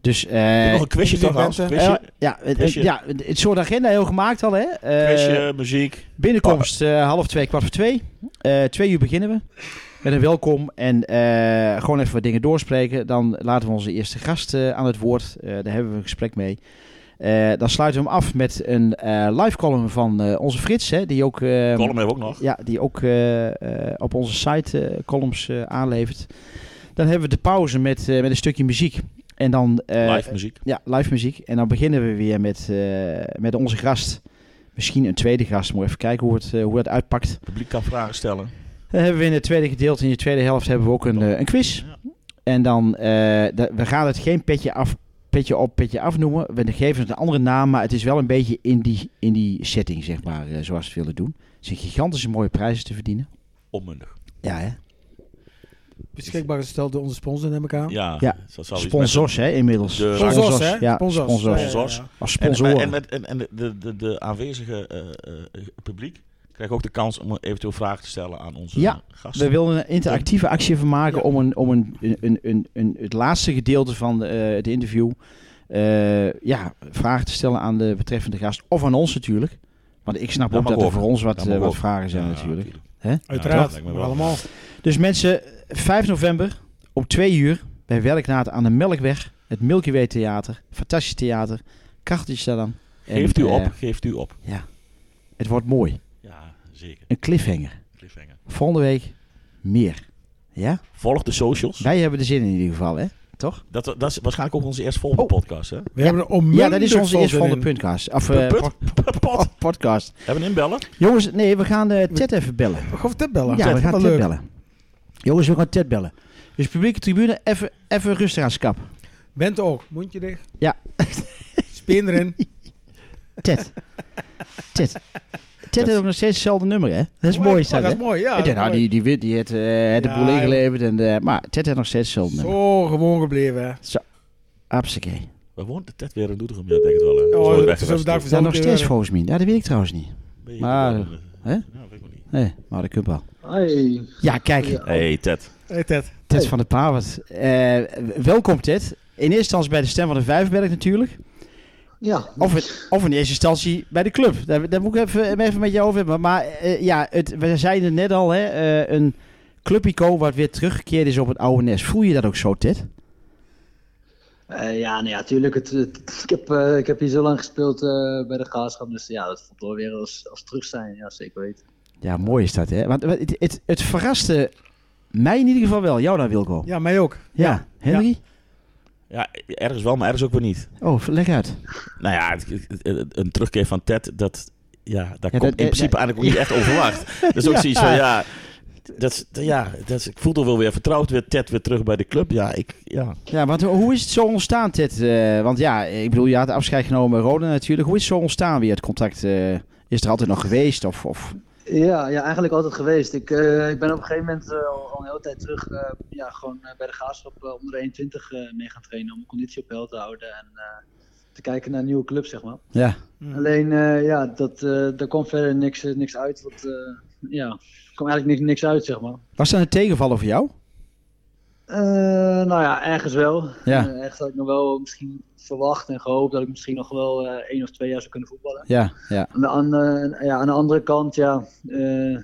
Dus eh,
nog een quizje
jullie
toch, Hans?
bent,
eh,
Quizje,
ja, het, het-
Quizje.
ja, het soort agenda heel gemaakt al. Hè? Eh,
quizje, muziek.
binnenkomst eh, half twee, kwart voor twee. Eh, twee uur beginnen we met een welkom en eh, gewoon even wat dingen doorspreken. Dan laten we onze eerste gast eh, aan het woord. Eh, daar hebben we een gesprek mee. Eh, dan sluiten we hem af met een eh, live column van eh, onze Frits, hè, die ook... eh,
Column hebben we ook nog.
ja, die ook eh, eh, op onze site eh, columns eh, aanlevert. Dan hebben we de pauze met, eh, met een stukje muziek. En dan, eh,
Live muziek.
Ja, live muziek. En dan beginnen we weer met, eh, met onze gast. Misschien een tweede gast. Moet even kijken hoe, het, eh, hoe dat uitpakt.
Publiek kan vragen stellen.
Dan hebben we in het tweede gedeelte, in de tweede helft, hebben we ook een, eh, een quiz.
Ja.
En dan, eh, da- we gaan het geen petje, af, petje op, petje af noemen. We geven het een andere naam, maar het is wel een beetje in die, in die setting, zeg maar, eh, zoals we het willen doen. Het zijn gigantische mooie prijzen te verdienen.
Onmundig.
Ja, hè?
beschikbaar gesteld door onze sponsor, neem ik aan.
Ja,
Ja.
zo zal iets met
Sponsors, hè, inmiddels.
De-
Sponsors, hè?
Ja,
Sponsors.
sponsors.
Ja, ja,
Sponsors.
ja.
Als
En,
sponsoren.
en, met, en, en de, de, de aanwezige eh, eh, publiek krijgt ook de kans om eventueel vragen te stellen aan onze
Ja,
gasten.
we wilden een interactieve actie van maken
Ja.
om, een, om een, een, een, een, een- het laatste gedeelte van de, eh, het interview eh, ja, vragen te stellen aan de betreffende gast. Of aan ons natuurlijk. Want ik snap
Dat
ook
mag
dat er
ook.
voor ons wat,
Dat mag
eh, wat
ook.
vragen zijn
Ja,
natuurlijk.
Ja, dat
Uiteraard,
lijkt me
maar
wel.
allemaal.
Dus mensen, 5 november om 2 uur bij Werknaad aan de Melkweg. Het Milky Way Theater. Fantastisch theater. Krachtig dan. eh,
Geeft u op, geeft u op.
Het wordt mooi.
Ja, zeker.
Een cliffhanger.
Cliffhanger.
Volgende week meer. Ja?
Volg de socials.
Wij hebben er zin in in ieder geval, hè? Toch?
Dat, dat is waarschijnlijk ook onze eerstvolgende
Oh.
podcast, hè?
We hebben er onmiddellijk
Ja, dat is onze
zin
eerste volgende
in.
puntcast. Of eh,
Put, put,
pod-
put, pot.
podcast.
Hebben we inbellen?
Jongens, nee, we gaan eh Ted even bellen.
We gaan Ted bellen.
Ja,
Ted,
we gaan
wel
Ted
leuk.
bellen. Jongens, we gaan Ted bellen. Dus publieke tribune, even, even rustig aan skap.
Bent ook. Mondje dicht.
Ja.
Spin erin.
Ted. Ted. Ted heeft ook nog steeds hetzelfde nummer, hè? Dat is
Oh,
mooi,
oh,
is dat,
Dat
hè?
is mooi, ja.
ik
dat is
denk, nou,
mooi.
die, die, wint, die heeft eh, de
Ja,
boel
joh.
ingeleverd. En, eh, maar Ted heeft nog steeds hetzelfde nummer.
Zo gewoon gebleven, hè.
Hartstikke.
Waar woont de Ted weer in Doetinchem? Ja, ik denk het wel. hè. Zo
Oh,
weg
dat
geweest.
is ook daar
Is dat
verzameld
nog steeds
worden.
volgens mij? Ja, dat weet ik trouwens niet.
Ben je-
Maar,
Ja,
hè?
weet ik wel niet. Oh.
Nee, maar dat kunt wel.
Hey.
Ja, kijk.
Hey Ted.
Hey, Ted.
Ted
Hey.
van der Pavert. Eh, welkom Ted. In eerste instantie bij de Stem van de Vijfberg natuurlijk.
Ja, dus.
Of, het- of in eerste instantie bij de club. Daar, daar moet ik even, even met jou over hebben. Maar eh, ja, het, we zeiden het net al. Hè, eh, een clubico wat weer teruggekeerd is op het oude nest. Voel je dat ook zo Ted?
Eh, ja, nou ja, tuurlijk. Het, het- ik, heb, eh, ik heb hier zo lang gespeeld eh, bij de Graafschap, dus ja, dat voelt wel weer als, als terug zijn. Ja, zeker weten.
Ja, mooi is dat hè. Want want het, het, het verraste mij in ieder geval wel. Jou dan Wilco. Ja,
Ja, mij ook.
Henry?
Ja, ergens wel, maar ergens ook weer niet.
Oh, leg uit.
Nou ja, het- het- het- een terugkeer van Ted, dat, ja, daar komt
dat-
in principe
eh,
eigenlijk ook niet echt onverwacht. Dat is ook
Ja.
zoiets van, ja, dat, is- ja dat is, ik voel toch wel weer vertrouwd, weer Ted weer terug bij de club. Ja, ik, ja.
Ja, want hoe is het zo ontstaan, Ted? Eh, want ja, ik bedoel, je had afscheid genomen met Roda natuurlijk. Hoe is het zo ontstaan weer het contact? eh, is er altijd nog geweest? Of, of...
Ja, ja eigenlijk altijd geweest. Ik, eh, ik ben op een gegeven moment eh, al, al een hele tijd terug eh, ja, gewoon eh, bij de Graafschap eh, onder de 21 eh, mee gaan trainen om mijn conditie op peil te houden en eh, te kijken naar nieuwe clubs, zeg maar.
Ja.
Alleen, eh, ja, dat, eh, daar kwam verder niks, eh, niks uit. Want, eh, ja, er kwam eigenlijk niks, niks uit, zeg maar.
Was dat een tegenvaller voor jou?
Eh, nou ja, ergens wel.
Ja.
Eh, ergens had ik nog wel misschien verwacht en gehoopt dat ik misschien nog wel eh, één of twee jaar zou kunnen voetballen.
Ja, ja.
Aan de, andere, ja, aan de andere kant, ja. eh,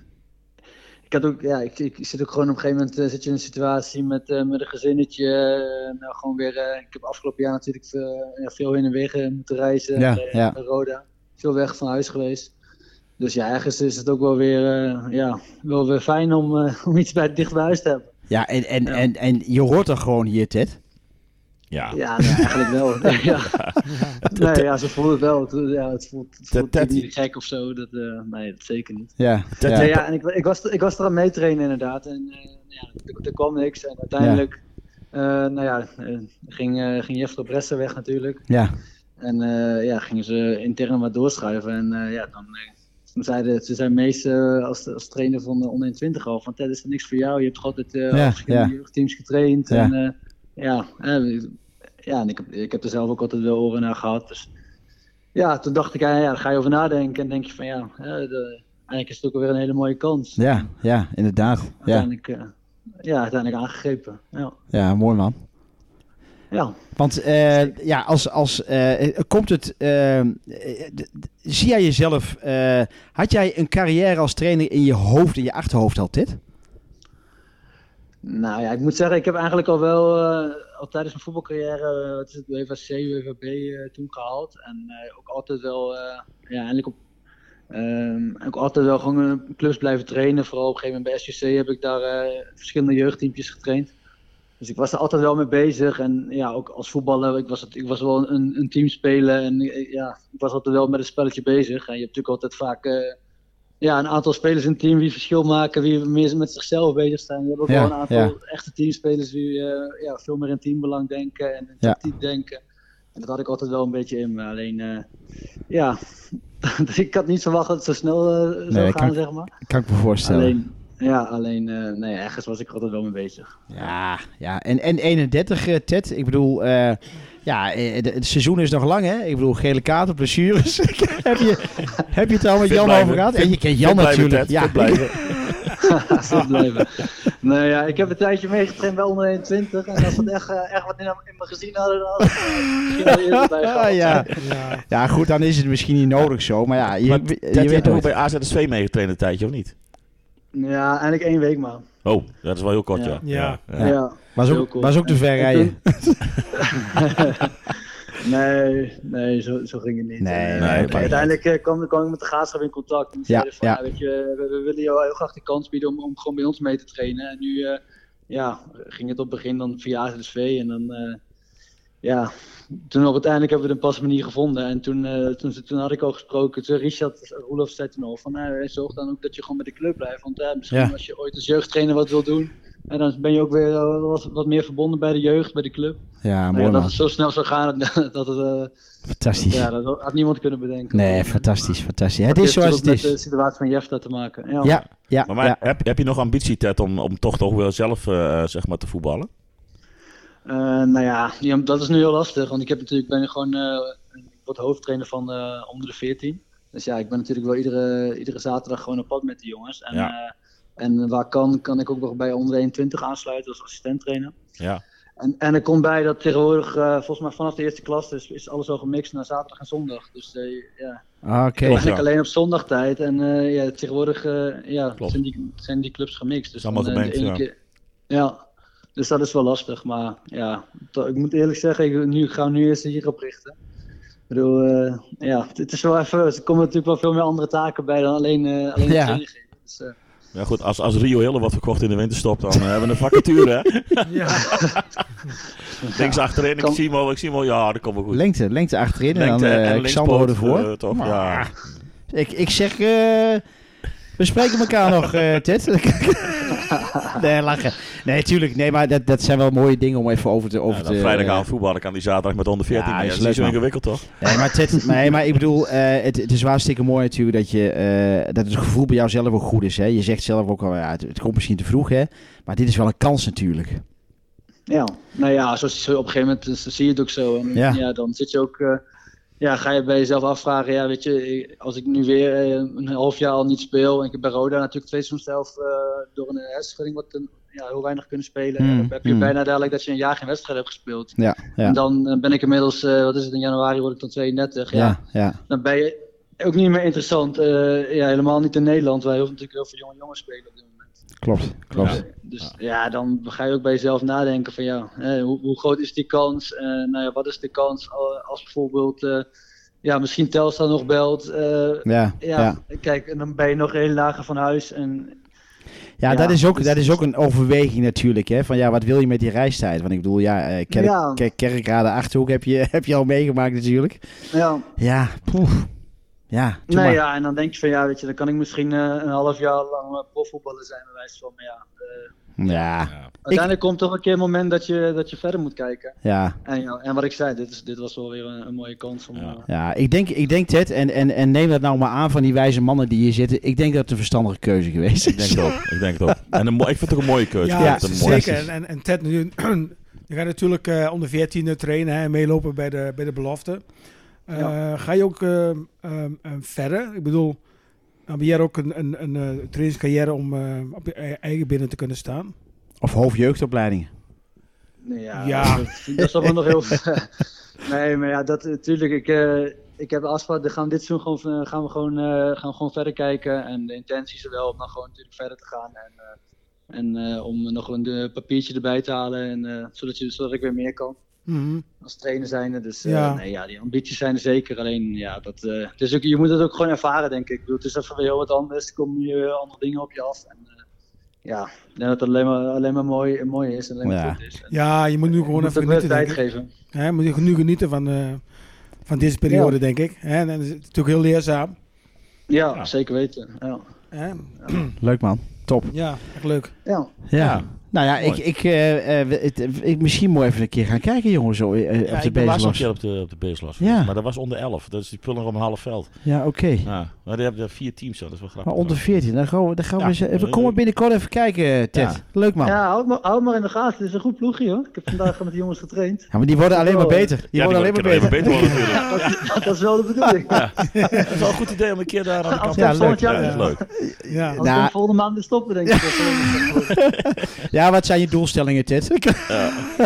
ik, had ook, ja ik, ik zit ook gewoon op een gegeven moment eh, zit je in een situatie met, eh, met een gezinnetje. eh, nou, gewoon weer, eh, ik heb afgelopen jaar natuurlijk eh, ja, veel heen en weer eh, moeten reizen.
Ja,
eh,
ja.
naar Roda. Veel weg van huis geweest. Dus ja, ergens is het ook wel weer, eh, ja, wel weer fijn om, eh, om iets bij, dicht bij huis te hebben.
Ja, en, en,
Ja.
En, en je hoort er gewoon hier, Ted.
Ja,
Ja, nee, eigenlijk wel. ja. Nee, ja, ze voelt het wel. Het, ja, het voelt, het voelt
dat-
niet gek of zo. Dat, eh, nee, dat zeker niet.
Ja,
Ted,
ja.
Nee, ja, en ik, ik, was, ik was er aan meetrainen inderdaad. En eh, ja, er, er kwam niks. En uiteindelijk eh, nou ja, eh, ging, eh ging Jeffrey Bressen weg natuurlijk.
ja.
En eh, ja, gingen ze intern wat doorschuiven. En eh, ja, dan, eh, toen zeiden ze zijn meest eh, als, als trainer van de onder 20 al. Van Ted, is er niks voor jou. Je hebt toch altijd eh
Ja,
al verschillende jeugdteams getraind.
Ja.
En eh, ja, eh, ja en ik, heb- ik heb er zelf ook altijd wel oren naar gehad. Dus ja, toen dacht ik, eh, ja, daar ga je over nadenken. En denk je van ja, eh, de- eigenlijk is het ook alweer een hele mooie kans.
ja, ja, inderdaad. Ja,
Uiteindelijk, eh, ja, uiteindelijk aangegrepen. Ja,
ja mooi man.
ja.
Want eh, ja, als, als eh, komt het. eh, eh, d- d- zie jij jezelf. eh, had jij een carrière als trainer in je hoofd, in je achterhoofd al, Ted?
Nou ja, ik moet zeggen, ik heb eigenlijk al wel eh, al tijdens mijn voetbalcarrière eh, wat is het, UEFA C, UEFA B eh, toen gehaald. En eh, ook altijd wel, eh, ja, eigenlijk op, ehm, ook altijd wel gewoon eh, clubs blijven trainen. Vooral op een gegeven moment bij SUC heb ik daar eh, verschillende jeugdteampjes getraind. Dus ik was er altijd wel mee bezig. En ja, ook als voetballer, ik was, het, ik was wel een, een teamspeler. En eh, ja, ik was altijd wel met het spelletje bezig. En je hebt natuurlijk altijd vaak... eh, ja, een aantal spelers in het team die verschil maken, wie meer met zichzelf bezig zijn. Je hebt ook
Ja,
wel een aantal
ja.
echte teamspelers die eh, ja, veel meer in teambelang denken en in
Ja.
tactiek denken. En dat had ik altijd wel een beetje in me. Alleen, eh, ja, ik had niet verwacht dat het zo snel eh, zou
dat
gaan,
kan-
zeg maar.
Kan ik me voorstellen.
Alleen, Ja, alleen eh, nee, ergens was ik er altijd wel mee bezig.
Ja, ja. En, en 31, eh, Ted. Ik bedoel, eh, ja, eh, de- het seizoen is nog lang, hè? Ik bedoel, gele kaarten, blessures. heb, je, heb je het al met
Fit
Jan
blijven.
over gehad?
Fit-
En je kent
Fit
Jan
blijven,
natuurlijk.
Ted, fit blijven.
Zo blijven. Nee, ja, ik heb een tijdje meegetraind bij onder 21. En als ze echt, eh, echt wat in, in me gezien hadden, dan had ik er misschien wel eerder bij
ja,
gehad.
Ah, ja.
Ja,
ja, goed, dan is het misschien niet nodig zo. Maar ja, je,
Maar
je
Ted, je
weet
hebt ook
nooit.
bij AZSV meegetraind een tijdje, of niet?
Ja, eigenlijk één week maar.
Oh, dat is wel heel kort, ja.
Ja.
Ja.
Ja.
Was
Heel
ook,
cool.
was ook te ver
En
rijden.
nee, nee, zo, zo ging het niet.
Nee,
Eh,
nee,
maar
oké.
uiteindelijk eh, kwam, kwam ik met de graafschap in contact. En die
Ja,
zeiden van,
ja.
ja, weet je, we, we willen jou heel graag de kans bieden om, om gewoon bij ons mee te trainen. En nu eh, ja, ging het op het begin dan via AZSV. En dan, eh, ja, toen op uiteindelijk hebben we een pas manier gevonden. En toen, eh, toen, toen had ik al gesproken, toen Richard Roelof zei toen al van, eh, zorg dan ook dat je gewoon bij de club blijft. Want eh, misschien
Ja.
als je ooit als jeugdtrainer wat wil doen, en dan ben je ook weer eh, wat, wat meer verbonden bij de jeugd, bij de club.
Ja,
Nou
mooi
ja, dat
man.
het zo snel zou gaan, dat, dat het, eh,
Fantastisch.
ja, dat had niemand kunnen bedenken. eh,
Nee, fantastisch, fantastisch. Het is zoals het
heeft met de
is.
situatie van Jefta te maken. Ja.
Ja, ja,
Maar, maar
ja.
Heb, heb je nog ambitie, Ted, om, om toch toch wel zelf eh, zeg maar, te voetballen?
Eh, nou ja, ja, dat is nu heel lastig, want ik heb natuurlijk, ben gewoon eh, ik word hoofdtrainer van eh, onder de 14. Dus ja, ik ben natuurlijk wel iedere, iedere zaterdag gewoon op pad met de jongens. En,
Ja.
eh, en waar kan, kan ik ook nog bij onder 21 aansluiten als assistent trainer.
Ja.
En, en er komt bij dat tegenwoordig, eh, volgens mij vanaf de eerste klas, is, is alles al gemixt naar zaterdag en zondag. Dus eh, ja,
Oké.
Ja.
Eigenlijk alleen op zondagtijd. En eh, ja, tegenwoordig eh, ja,
Klopt.
zijn, die, zijn die clubs gemixt. Dus
Is allemaal
dan, eh, de
gemengd,
ene keer- ja, dus dat is wel lastig. Maar ja, to- ik moet eerlijk zeggen, ik nu, ga nu eerst hierop richten. Ik bedoel, eh, ja, het is wel even, er komen natuurlijk wel veel meer andere taken bij dan alleen, eh alleen de
Ja.
training geven. Dus, eh,
Ja, goed, als, als Rio Hille wat verkocht in de winterstop, dan eh, hebben we een vacature, hè?
ja.
Links achterin, ik
Kan-
zie hem al, ik zie hem al. Ja, dat komt wel goed.
Lengte, lengte achterin
Lengte
en dan eh,
en
Xander
linkspoot,
ervoor.
eh, toch,
Maar,
ja.
ik, ik zeg, eh, we spreken elkaar nog, eh Ted. nee, lachen. Nee, tuurlijk. Nee, maar dat, dat zijn wel mooie dingen om even over te... Over
Ja,
te eh,
dan vrijdagavond voetballen kan die zaterdag met onder 14.
Ja,
mee.
is
Ja, dat is niet
leuk,
zo
man.
ingewikkeld, toch?
Nee, maar, Ted, nee, maar ik bedoel, eh, het, het is wel hartstikke mooi natuurlijk dat, je, eh, dat het gevoel bij jou zelf ook goed is. Hè? Je zegt zelf ook al, ja, het, het komt misschien te vroeg, hè? maar dit is wel een kans natuurlijk.
Ja, nou ja, zoals zo op een gegeven moment eh, zie je het ook zo. En
Ja.
ja. dan zit je ook, eh, ja, ga je bij jezelf afvragen, ja, weet je, ik- als ik nu weer eh, een half jaar al niet speel en ik heb bij Roda natuurlijk twee seizoen zelf eh, door een hersenschudding wat een- ja, heel weinig kunnen spelen,
Hmm,
dan heb je
hmm.
bijna dadelijk dat je een jaar geen wedstrijd hebt gespeeld.
Ja, ja.
En dan eh, ben ik inmiddels, eh, wat is het, in januari word ik dan 32. Ja,
Ja, ja.
Dan ben je ook niet meer interessant, eh, ja, helemaal niet in Nederland, waar heel, natuurlijk heel veel jonge jongens spelen op dit moment.
klopt, klopt.
Dus, dus ja. dan ga je ook bij jezelf nadenken van ja, hè, hoe, hoe groot is die kans? Eh, nou ja, wat is de kans al- als bijvoorbeeld, eh, ja, misschien Telstra nog belt. eh,
Ja,
ja,
ja.
kijk, en dan ben je nog heel lager van huis. En,
Ja,
Ja,
dat, is ook,
dus-
dat is ook een overweging natuurlijk. Hè? Van ja, wat wil je met die reistijd? Want ik bedoel, ja, eh, kerk,
Ja.
Kerk- kerkraden achterhoek heb je, heb je al meegemaakt natuurlijk.
nou ja,
Ja, poeh. Ja, doe
nou
maar.
ja, en dan denk je van ja, weet je, dan kan ik misschien eh, een half jaar lang eh, profvoetballer zijn, bij wijze van. Maar ja,
ja,
uiteindelijk komt toch een keer een moment dat je, dat je verder moet kijken.
ja.
En, ja, en wat ik zei, dit, is, dit was wel weer een, een mooie kans om...
Ja.
eh,
Ja, ik denk, ik denk Ted, en, en, en neem dat nou maar aan van die wijze mannen die hier zitten. Ik denk dat het een verstandige keuze geweest
Ik
is.
denk het ook. Ik, denk het ook. En een, mo- ik vind het ook een mooie keuze.
Ja,
Ik vind het een mooie-
zeker. En, en, en Ted, nu, je gaat natuurlijk eh, onder 14 trainen hè, en meelopen bij de, bij de belofte. Eh,
Ja.
Ga je ook ehm, ehm, ehm, verder? Ik bedoel, heb jij ook een, een, een eh, trainingscarrière om eh, op je e- eigen binnen te kunnen staan?
Of hoofdjeugdopleidingen.
Nee, Ja,
Ja.
dat is- dat is allemaal nog heel ver. Nee, maar ja, dat natuurlijk. Ik, eh, ik heb de afspraak. Dan gaan we dit seizoen gewoon, eh, gaan we gewoon, eh, gaan we gewoon verder kijken. En de intentie is er wel om dan gewoon natuurlijk verder te gaan. En, eh, en eh, om nog een eh, papiertje erbij te halen. En, eh, zodat, je, zodat ik weer meer kan
Mhm.
als trainer zijnde. Dus eh,
Ja.
nee, ja, die ambities zijn er zeker. Alleen ja, dat, eh, het is ook, je moet het ook gewoon ervaren, denk ik. ik bedoel, het is even weer heel wat anders. Er komen hier eh, andere dingen op je af. En, eh, ja, ik denk dat het alleen maar, alleen maar mooi, mooi is en alleen maar
Ja.
goed is. En-
Ja, je moet nu gewoon
je moet
even
ook wel
genieten.
tijd
Denk ik.
geven.
Hè, moet je nu genieten van, eh, van deze periode,
Ja.
denk ik. Hè, en, dat is natuurlijk heel leerzaam.
Ja, zeker weten. Ja.
Hè?
Leuk man. Top.
Ja, echt leuk.
Ja.
Ja. Nou ja, ik,
Mooi.
ik, eh, eh, we- het- ik, misschien moet ik even een keer gaan kijken, jongen, zo eh,
Ja,
op de
ik ben laatst een
bezemlast.
keer op de, op de Beerslast
Ja.
geweest, Maar dat was onder 11. Dat is die pullen om een half veld.
Ja, oké.
Ja. Maar die hebben er vier teams zo. Dat is wel grappig.
Maar onder 14, dan gaan we, dan gaan we
eh, Ja.
eens even... Kom maar binnenkort even kijken, eh, Ted.
Ja.
Leuk, man. Ja.
Ja, houd maar, houd maar in de gaten. Het is een goed ploegje hoor. Ik heb vandaag met de jongens getraind.
maar die worden alleen maar beter. Die
Ja,
worden alleen maar
kunnen
beter.
beter worden natuurlijk.
Dat, dat is wel de bedoeling.
Het is wel een goed idee om een keer daar aan de kant
Als
we
te
volgend
staan.
jaar-
Ja, dat is leuk.
Ja.
Als we
Nou.
hem volgende maand weer stoppen, denk ik.
Ja, wat zijn je doelstellingen, Ted? Eh,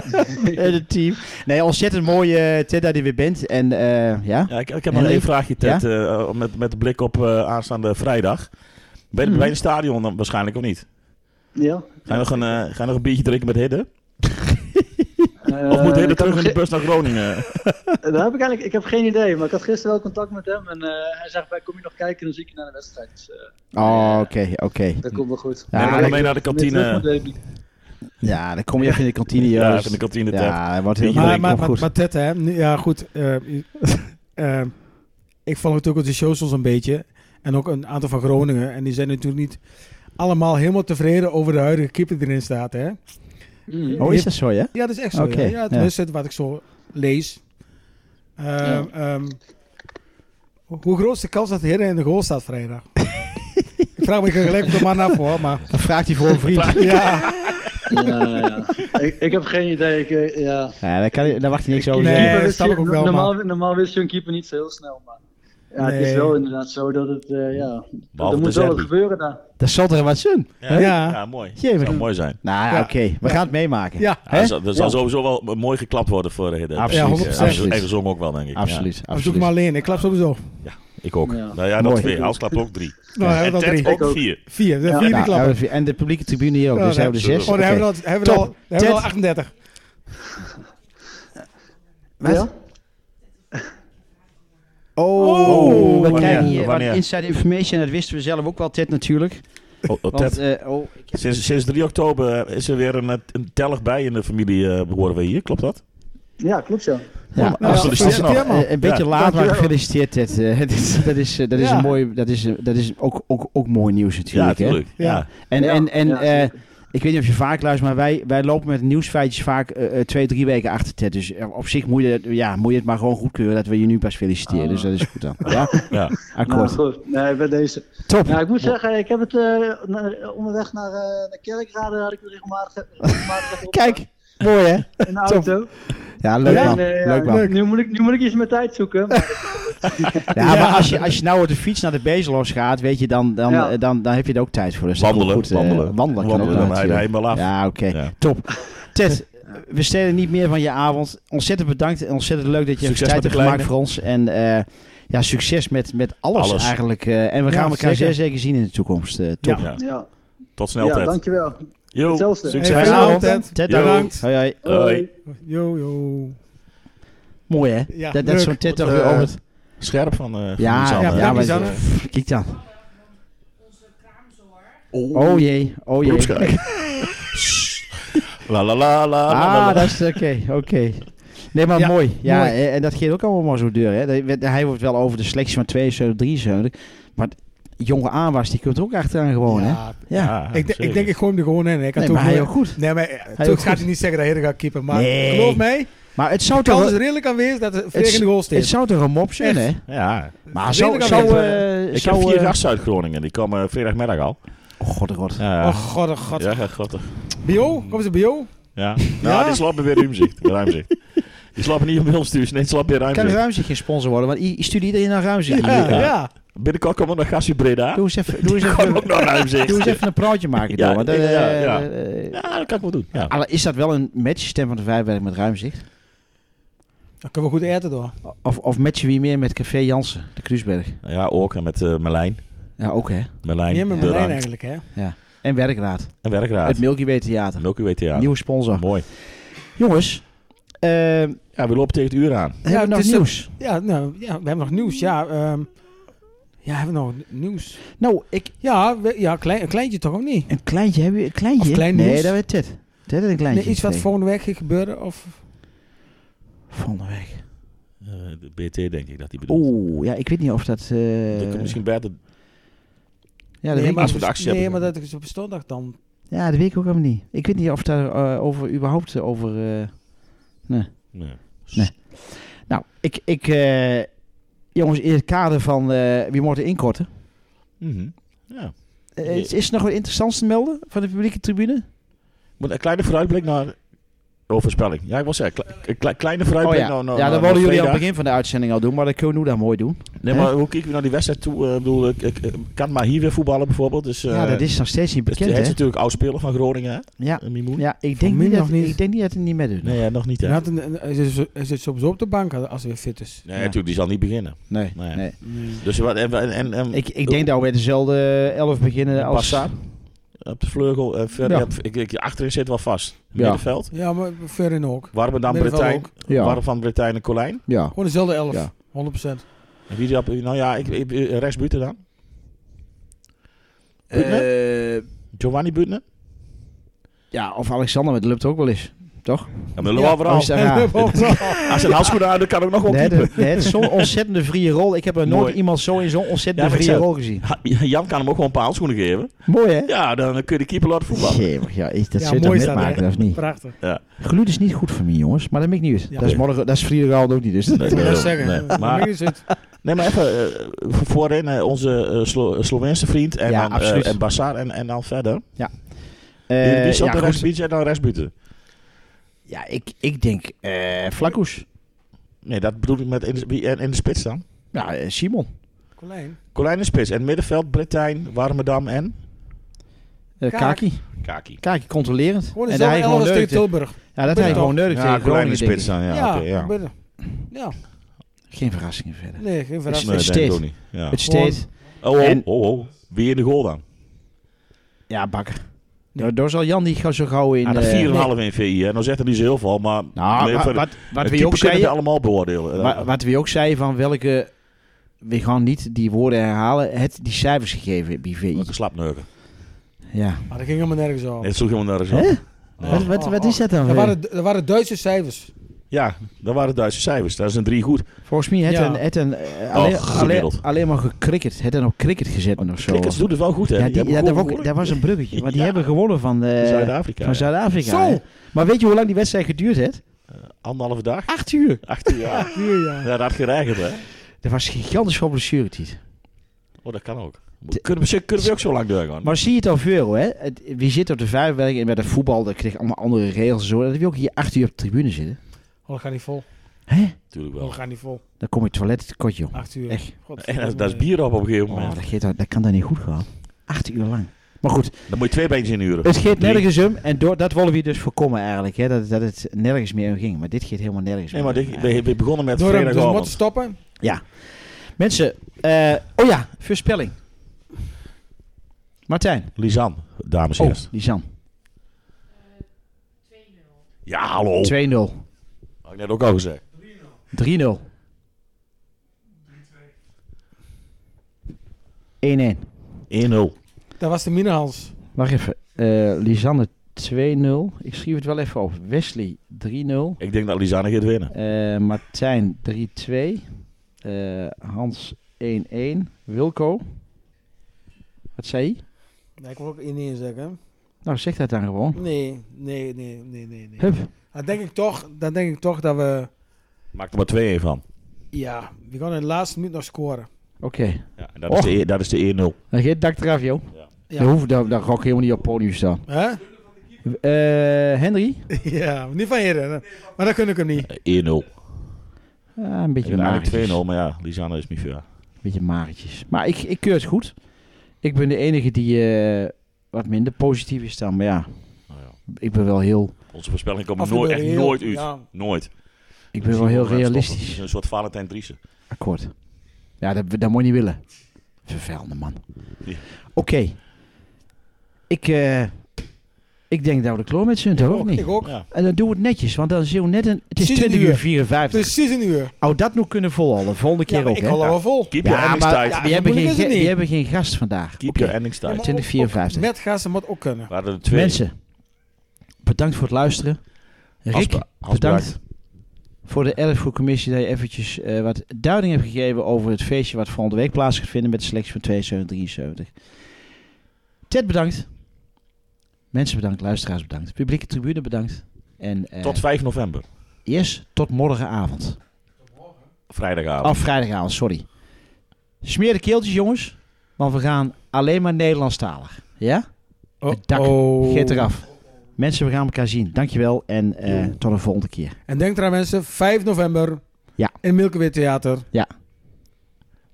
Het team. Nee, ontzettend mooi, eh, Ted, dat je weer bent. En eh, ja?
Ja, ik, ik heb nog
Henry?
één vraagje, Ted. eh, met, met de blik op eh, aanstaande vrijdag. Ben je
Mhm.
bij het stadion dan waarschijnlijk of niet?
Ja.
Ga je nog een, eh, ga je nog een biertje drinken met Hidde?
Eh,
Of moet Hidde
ik had
terug in de
ge-
bus naar Groningen?
Daar heb ik eigenlijk, ik heb geen idee, maar ik had gisteren wel contact met hem en eh, hij zegt, "Wij, kom je nog kijken, dan zie ik je naar de wedstrijd. Dus eh,
Oh, oké, oké.
dat komt wel goed.
Ja,
Neem
ik-
hem mee naar de
Meer
kantine.
terug moet, baby.
Ja, dan kom je even in de kantine,
Ja,
Joost.
even in de kantine, Ted.
Ja, wat heel
Maar,
leuk.
maar,
Komt
maar,
goed.
maar Ted, hè? nu- Ja, goed. eh, je- eh, ik volg natuurlijk ook de socials een beetje. En ook een aantal van Groningen. En die zijn natuurlijk niet allemaal helemaal tevreden over de huidige keeper die erin staat. Hè?
Mm.
Oh, is dat zo, ja?
Ja, dat is echt zo.
Oké,
ja. ja,
ja.
tenminste, wat ik zo lees. Ehm,
Ja.
ehm, hoe groot is de kans dat de heren in de goal staat vrijdag? ik vraag me gelijk de man af hoor, maar...
Dan vraagt hij voor een vriend.
Ja,
Ja, ja. Ik, ik heb geen idee. Ik, eh, ja.
Ja, daar, kan hij, daar wacht hij niks over.
Nee,
zeggen.
Keeper wist
snap
je-
ik ook wel,
normaal, normaal wist je een keeper niet zo heel snel, maar ja, het is
Nee.
wel inderdaad zo dat het, eh, ja,
Behalve
er
de
moet wel wat
Zerbi.
gebeuren daar.
Dat zal er wat zijn.
Ja,
Ja.
ja, mooi.
Jee, maar-
Zou mooi zijn.
Nou,
Ja.
oké. We gaan het meemaken.
Ja.
Ja,
Hè?
er zal, er zal sowieso wel mooi geklapt worden voor Hidde.
Absoluut.
Ja, 100%.
En gezongen ook wel, denk ik. Ja.
Absoluut.
dat doe ik
absoluut.
maar alleen. Ik klap sowieso.
Ik ook.
Ja.
Nou ja, dat
Mooi.
twee. Als klap ook drie.
Nou, hebben we
en
dat
Ted oh.
drie.
ook
Ik ook.
vier.
Vier, de
Ja.
vierde
Ja,
klap.
nou, en de publieke tribune hier ook.
Ja,
dus
nee.
hebben we er zes.
Oh, dan hebben we
Oké.
dat- hebben we er al-
Top.
dan hebben we al
Ted.
38.
Wat?
Ja?
Oh, we
wanneer?
krijgen hier wat
Wanneer?
inside information. Dat wisten we zelf ook wel, Ted, natuurlijk.
Oh, oh,
Want,
Ted,
eh, oh, ik heb-
sinds, sinds 3 oktober is er weer een, eh, een tellig bij in de familie, eh horen we hier. Klopt dat?
Ja, klopt zo.
ja,
Nou,
absoluut.
gefeliciteerd nog.
gefeliciteerd, man.
Eh, een beetje
Ja.
laat, maar
Dankjewel.
gefeliciteerd, Ted. Eh, dat is, dat is, eh, dat is,
Ja.
een mooi, dat is, eh, dat is ook, ook, ook mooi nieuws
Ja,
natuurlijk. hè?
natuurlijk.
Ja.
Ja.
En,
Ja,
en, en
ja,
eh,
zeker.
ik weet niet of je vaak luistert, maar wij, wij lopen met nieuwsfeitjes vaak eh, eh, twee, drie weken achter Ted. Dus eh, op zich moet je, dat- ja, moet je het maar gewoon goedkeuren dat we je nu pas feliciteren.
Ah.
Dus dat is goed dan. Ja,
Ja.
Nou,
akkoord.
goed. Nee, bij deze.
Top.
Nou, ik moet zeggen, ik heb het eh, na- onderweg naar, eh naar Kerkrade had ik het regelmatig. regelmatig op,
Kijk, mooi hè?
eh, In de auto.
Ja, leuk
Ja,
man.
nee, ja,
leuk man.
Nu, moet ik, nu moet ik iets met tijd zoeken. maar-
Ja, maar als je, als je nou op de fiets naar de Bezelos gaat, weet je, dan, dan,
Ja.
dan, dan, heb je er ook tijd voor. Dus dat
Wandelen,
komt goed, eh,
wandelen.
wandelen kan
Wandelen,
ook
dan
wel
rijd je
natuurlijk.
helemaal af.
Ja, oké.
Ja.
Top. Ted, we stelen niet meer van je avond. Ontzettend bedankt en ontzettend leuk dat je
Succes
tijd
met de
hebt gemaakt
kleine.
voor ons. En eh, ja, succes met, met alles,
Alles.
eigenlijk. eh, en we
Ja,
gaan elkaar
zeker.
zeer zeker zien in de toekomst. eh, top.
Ja.
ja.
Tot snel,
ja,
Ted.
dankjewel.
Jo,
Hetzelfde.
succes.
Hey,
Fijne
fijne
avond.
avond,
Ted,
Jo.
bedankt. Hoi, hoi.
Hoi.
Yo, yo.
Mooi hè?
Ja,
dat dat
leuk.
zo'n Ted toch
Eh,
weer over het...
Scherp van eh van
Ja,
Lisanne.
ja,
ja,
maar,
Lisanne.
pff, kijk dan. Oh jee, oh jee.
Broekskijk. La la la la. la, la,
Ah,
la.
dat is oké, oké. Nee, maar
Ja,
mooi. Ja,
mooi.
eh, en dat geeft ook allemaal zo deur. Hè. Dat werd- Hij wordt wel over de selectie van 72, 73. Maar jonge aanwas, die kunt er ook achteraan gewoon, hè?
Ja,
Ja.
Ah,
ik, denk- ik denk ik gooi hem er gewoon in. Ik had
nee,
ook
maar hij
wel-
ook goed.
Nee, maar
ook
eh, toch
goed.
gaat hij niet zeggen dat hij er gaat keeper. Maar
Nee.
geloof mij,
Maar het
de
zou toch,
kans is
wel-
redelijk aanwezig dat er Freek in de goal
het
steekt.
zou toch een mop zijn, hè?
Echt.
Ja.
Maar
Redelijk
zou...
aan
zou,
weten.
eh,
Ik
zou
heb vier
eh,
gasten uit Groningen. Die komen vrijdagmiddag al.
Oh, god, oh, god.
Ja, ja.
Oh god, oh god.
Ja, ja, god.
Bio? Komt ze bio?
Ja. Nou, die slapen weer ruimzicht. ruimzicht. Die slapen niet op Hulstuurs. Nee, die slapen weer
Kan
ruimzicht.
Ruimzicht geen sponsor worden? Want i- i- stuurt iedereen naar Ruimzicht.
Ja,
hier?
ja.
Binnenkort komen we naar Gassie Breda.
Doe eens even... Doe eens even
Kom ook naar ruimzicht.
Doe eens even een praatje maken,
Ja,
door, want,
ik-
eh,
ja, ja.
eh, eh,
Ja, dat kan ik wel doen. Ja.
alle- Is dat wel een matchstem van de vijfwerk met Ruimzicht?
Dan kunnen we goed eten door.
Of, of matchen wie meer met Café Jansen, de Kruisberg?
Ja, ook. En met eh, Merlijn.
Ja, ook hè.
Merlijn.
Niet met
de
Merlijn
Rank
eigenlijk, hè?
En Werkraad.
En werkraad.
Het Milky Way Theater.
Milky Way Theater.
Nieuwe sponsor.
Mooi.
Jongens, eh,
Ja, we lopen tegen het uur aan.
hebben we nog
het is-
nieuws?
Ja, nou, ja, we hebben nog nieuws. Ja, ehm, ja hebben we nog nieuws?
Nou, ik,
Ja, we- ja klein, een kleintje toch, of niet?
een kleintje. Hebben we een kleintje?
Of klein
nee,
nieuws?
dat werd Ted. Ted had een kleintje.
Nee, iets wat
gekregen.
volgende week gaat gebeuren? Of...
Volgende week.
Eh, de BT denk ik dat die bedoelt.
Oeh, ja, ik weet niet of dat... eh,
Dat kan misschien beter...
ja, dat weet ik
maar,
niet.
als we de actie
nee,
hebben.
maar dat is op zondag dan.
Ja, dat weet ik ook helemaal niet. Ik weet niet of daar eh, over überhaupt eh, over... eh,
Nee.
Nou, ik... ik eh, jongens, in het kader van eh, wie moet er inkorten?
Mhm. Ja.
Eh, is, is er nog wat interessants te melden van de publieke tribune?
Moet een kleine vooruitblik naar. Oh, voorspelling. Ja, ik wil zeggen, kle- een kle- kleine vooruitblik
Oh ja,
naar. naar-
ja
naar-
dat wilden
naar
jullie aan
vrijdag.
het begin van de uitzending al doen, maar dat kunnen we nu dan mooi doen.
Nee, maar hoe kijken we naar die wedstrijd toe? Eh, Ik bedoel, ik, ik- ik kan maar hier weer voetballen bijvoorbeeld. Dus, eh,
ja, dat is Hm? nog steeds niet
dus
bekend,
hij is
hè?
natuurlijk oud speler van Groningen, hè?
Ja,
Eh, Mimoen.
ja ik,
Van
denk
min
niet dat,
nog niet.
ik denk niet dat hij niet meedoet.
Nee, ja, nog niet, hè?
Hij had een- een- Hij zit, hij zit sowieso op de bank als hij weer fit is.
Nee, natuurlijk, die zal niet beginnen.
Nee,
Nee.
nee.
Dus wat, en, en, en, en- Oh,
Ik, ik denk dat we met dezelfde elf beginnen als...
Bassa. op de vleugel, eh, verder,
Ja.
ik, ik, achterin zit wel vast. Middenveld.
Ja, maar Verin ook.
Warme dan
Middenveld
Bretijn,
ook.
Ja.
Warme van Bretijn en Colijn.
Ja.
Gewoon dezelfde elf.
Ja.
100%.
En wie die op, nou ja, ik, ik, rechtsbuiten dan.
Eh,
Giovanni Butner.
ja, of Alexander, maar dat lukt ook wel eens. Toch?
Ja, maar ja,
Oh, is dat raar?
Als een handschoen aan, dan kan ook nog wel
Nee,
typen.
de- nee, het is zo'n ontzettende vrije rol. Ik heb er nooit
Mooi.
iemand zo in zo'n
Ja,
ontzettende
maar ik
vrije
zei-
rol gezien.
Ha- Jan kan hem ook gewoon een paar handschoenen geven.
Mooi, hè?
Ja, dan kun je de keeper laten voetballen.
Jee, ja, is- dat
Ja,
zit
mooi
toch
is
net
dat,
maken,
hè?
of niet?
Prachtig.
Geluid is niet goed voor mij, jongens, maar dat maakt niet uit.
Ja.
Dat is, morgen, dat is vrijdag ook niet, dus dat-
Nee,
Ik wil dat
nee,
zeggen.
nee. Maar,
Is het-
nee, maar even eh, voorin eh, onze eh, Slo- Sloveense vriend en,
Ja,
dan, eh,
absoluut.
en Bassar en, en dan verder.
Eh,
Die- die zat
ja,
de
goed.
rechtsbuiten en dan rechtsbuiten.
Ja, ik, ik denk eh Flakkoes.
Nee, dat bedoel ik met in de, wie- en in de spits dan.
Ja, eh, Simon.
Colijn.
Colijn in spits. En middenveld Bretijn, Warmerdam en
Eh,
Kaak.
Kaki.
Kaki.
Kaki, controlerend.
Gewoon
en daar hij
dezelfde elf
gewoon
als tegen
nodig.
Tilburg.
Ja, dat hij
Ja.
gewoon nodig
Ja,
tegen
Colijn in
Groningen, denk
spits
ik.
dan. Ja, oké, ja.
ben er. ja.
Geen verrassingen verder.
nee, geen verrassing.
Nee,
Het
denk ik
steekt.
ook niet. Ja.
Het steeds.
Oh, oh,
En-
oh, oh. Wie in de goal dan?
Ja, bakker. Daar, daar zal Jan niet gauw zo gauw in...
Ah, dat
eh,
4,5 in VI. Hè. Nou zegt er niet zo heel veel, maar...
Nou,
nee,
wa-
van-
wat,
de
wat, we ook
typen kunnen het
zeiden,
allemaal beoordelen. eh,
wa- wat we ook zeiden van welke... We gaan niet die woorden herhalen. Het die cijfers gegeven bij VI.
Welke slapneuken.
Ja.
Maar dat ging helemaal nergens over. Oh,
Nee, het sloeg helemaal nergens
Hè?
op.
Wat, wat, wat is dat dan?
Dat
weer?
waren, dat waren Duitse cijfers.
Ja, dat waren Duitse cijfers. Dat is een drie goed.
Volgens mij het
Ja.
een, het een eh, alleen, alleen,
gemiddeld.
alleen maar gekricket. Het een op cricket gezet of zo.
Klikkers doen het wel goed, hè?
Ja,
Die hebben
die, ja, dat,
gewoon
was,
gewonnen.
dat was een bruggetje. Maar die
Ja.
hebben gewonnen van, eh,
In Zuid-Afrika.
van
ja.
Zuid-Afrika.
Zo!
hè. Maar weet je hoe lang die wedstrijd geduurd heeft?
Anderhalve dag.
Acht uur.
Acht uur, ja.
Hier, ja.
Ja, Dat had geregeld, hè?
Er was gigantisch veel blessuretijd.
Oh, dat kan ook. Kunnen we, kunnen we ook zo lang doorgaan?
Maar zie je het al veel, hè? Het- Wie zit op de vijfwerking en bij de voetbal, dat kreeg allemaal andere regels en zo. Dat wil ook hier acht uur op de tribune zitten.
Oh, dat gaat niet vol.
Hè?
Natuurlijk
Oh,
wel.
dat gaat niet vol.
Dan kom je toilet tekort, joh.
Acht uur.
Echt.
God,
En dat, dat is bier op op een gegeven
Oh,
moment.
dat, geeft, dat kan daar niet goed gaan. Acht uur lang. Maar goed,
Dan moet je twee beentjes inhuren.
Het geeft
Drie.
nergens om en door, dat willen we dus voorkomen eigenlijk, hè, dat, dat het nergens meer om ging. Maar dit geeft helemaal nergens
Nee,
meer
maar
om
dit-
eigenlijk.
we, we begonnen met
Door hem dus moet
vrijdagavond.
stoppen.
Mensen, eh, oh ja, voorspelling. Martijn.
Lisan, dames en
Oh,
heren.
Lisan.
Ja, hallo.
2-0. 3-0. 3-2. 3-1.
Had ik net ook al gezegd.
Wacht
1-0.
Dat was de Minehans.
even. Eh Lisanne 2-0. Ik schreef het wel even op. Wesley 3-0.
Ik denk dat Lisanne gaat winnen.
Eh, Martijn 3-2. Eh, Hans 1-1. Wilco. Wat zei je?
Nee, ik wil ook ineens zeggen.
Nou, zeg dat dan gewoon.
Nee, nee, nee, nee, nee. nee.
Hup.
Dan, denk ik toch, dan denk ik toch dat we...
Maak er maar twee van.
Ja, we gaan in de laatste minuut nog scoren.
Oké.
Ja, en dat, is
Och.
de, e- dat is de 1-0.
Dan geef dak eraf, joh.
Ja.
Ja.
Dan, hoef, dan, dan ga ik helemaal niet op het podium staan.
Hè?
Eh, Henry?
ja, niet van heren. hè. Maar dat kun ik hem niet.
Eh, 1-0.
Ah, een
Ik
beetje
ben eigenlijk 2-0,
magertjes.
maar ja, Lisanne is niet veel.
Een beetje magertjes. Maar ik, ik keur het goed. Ik ben de enige die eh, wat minder positief is dan. Maar ja,
Nou ja.
ik ben wel heel,
Onze voorspelling komt
Af en
nooit,
toe
echt
heel-
nooit uit.
Ja,
Nooit.
ik ben wel heel realistisch.
Een soort Valentijn Driessen.
Akkoord. Ja, dat, dat moet je niet willen. Vervelende man.
Ja.
Oké. Ik, eh, ik denk dat we de kloor met zijn, toch? Of niet?
ik ook.
Ja.
En dan doen we het netjes, want dan zien we net een... Het is
Zes
20
uur.
uur 54.
Precies een uur.
Ou dat nog kunnen volhouden. Volgende keer
Ja, maar
ook,
ik
hè?
hou al wel vol.
Keep your
Ja, maar
endingstijd.
Ja,
we,
zo
hebben
moeilijk
geen, ge-
is het niet.
we hebben geen gast vandaag.
Keep
Oké.
your endingstijd.
Ja, maar
2054.
Met gasten moet ook kunnen.
We hadden er twee.
Mensen, bedankt voor het luisteren. Rick,
Afspra- afspraak.
bedankt voor de erfgoedcommissie dat je eventjes eh, wat duiding hebt gegeven over het feestje wat volgende week plaats gaat vinden met de selectie van 72, 73. Ted, bedankt. Mensen bedankt, luisteraars bedankt, publieke tribune bedankt. En eh,
Tot 5 november,
yes, tot morgenavond.
Oh.
vrijdagavond.
Of vrijdagavond, sorry. Smeer de keeltjes, jongens. Want we gaan alleen maar Nederlandstalig. Ja? Het dak
Oh.
Geet eraf. Mensen, we gaan elkaar zien. Dankjewel en eh, tot de volgende keer.
En denk eraan mensen, 5 november
Ja.
in Milkeweer Theater.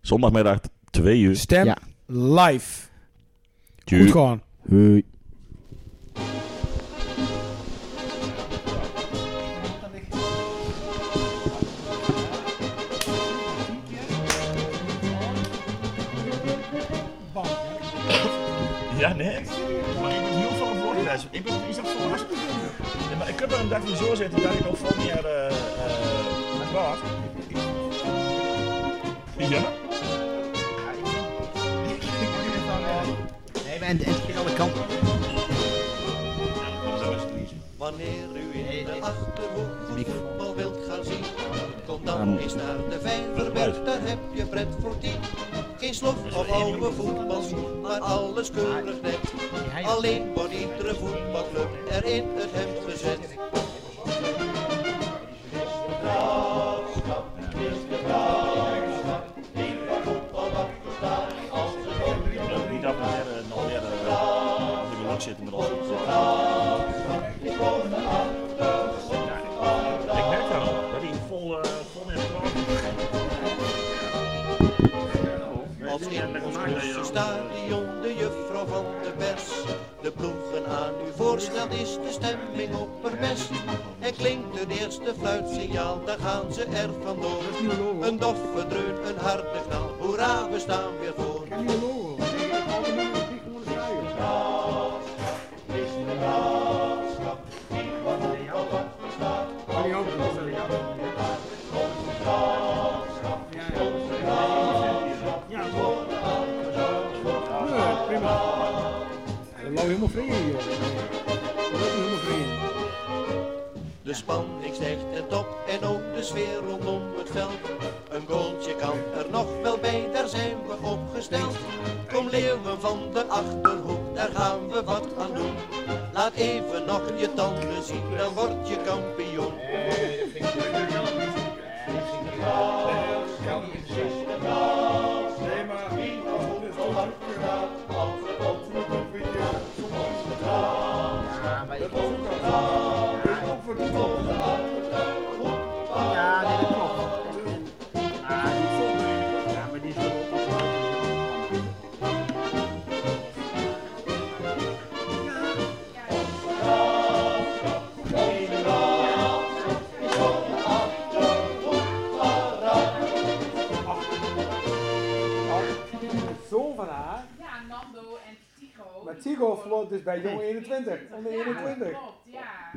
Zondagmiddag 2 uur.
Stem
Ja.
live. Goed
Tjoe.
gewoon.
Hoi.
Ja, nee. Maar ik ben heel veel verantwoordelijk. Ik ben is dat verrast. Ja, maar ik heb er een dag zo zitten dat ik nog veel meer eh eh was. Ja?
Nee, en, alle kanten.
Wanneer u in de achterhoek voetbal wilt gaan zien, kom dan eens naar de Vijverberg, daar heb je pret voor tien. Geen slof of oude voetbalschoen, maar alles keurig net. Alleen wordt iedere voetbalclub er in het hemd gezet.
Niet dat we weer, eh, nog weer eh, in de lucht zitten met ons. Ja, Ik merk dat al, dat hij vol, eh, vol meer
Als in ons Groense stadion de juffrouw van de pers de ploegen aan u voorstelt, is de stemming opperbest. En klinkt het eerste fluitsignaal, daar gaan ze er vandoor. Een doffe dreun, een harde knal, hoera, we staan weer voor.
Dat loopt helemaal vrij joh. Dat loopt helemaal vrij
De spanning stijgt en top en ook de sfeer rondom het veld. Een goaltje kan er nog wel bij, daar zijn we opgesteld. Kom leeuwen van de Achterhoek, daar gaan we wat aan doen. Laat even nog je tanden zien, dan word je kampioen.
Zoon van haar.
Ja, Nando en Tigo.
Maar Tigo verloor dus bij Jong 21. Onder
Ja,
21.
klopt, ja.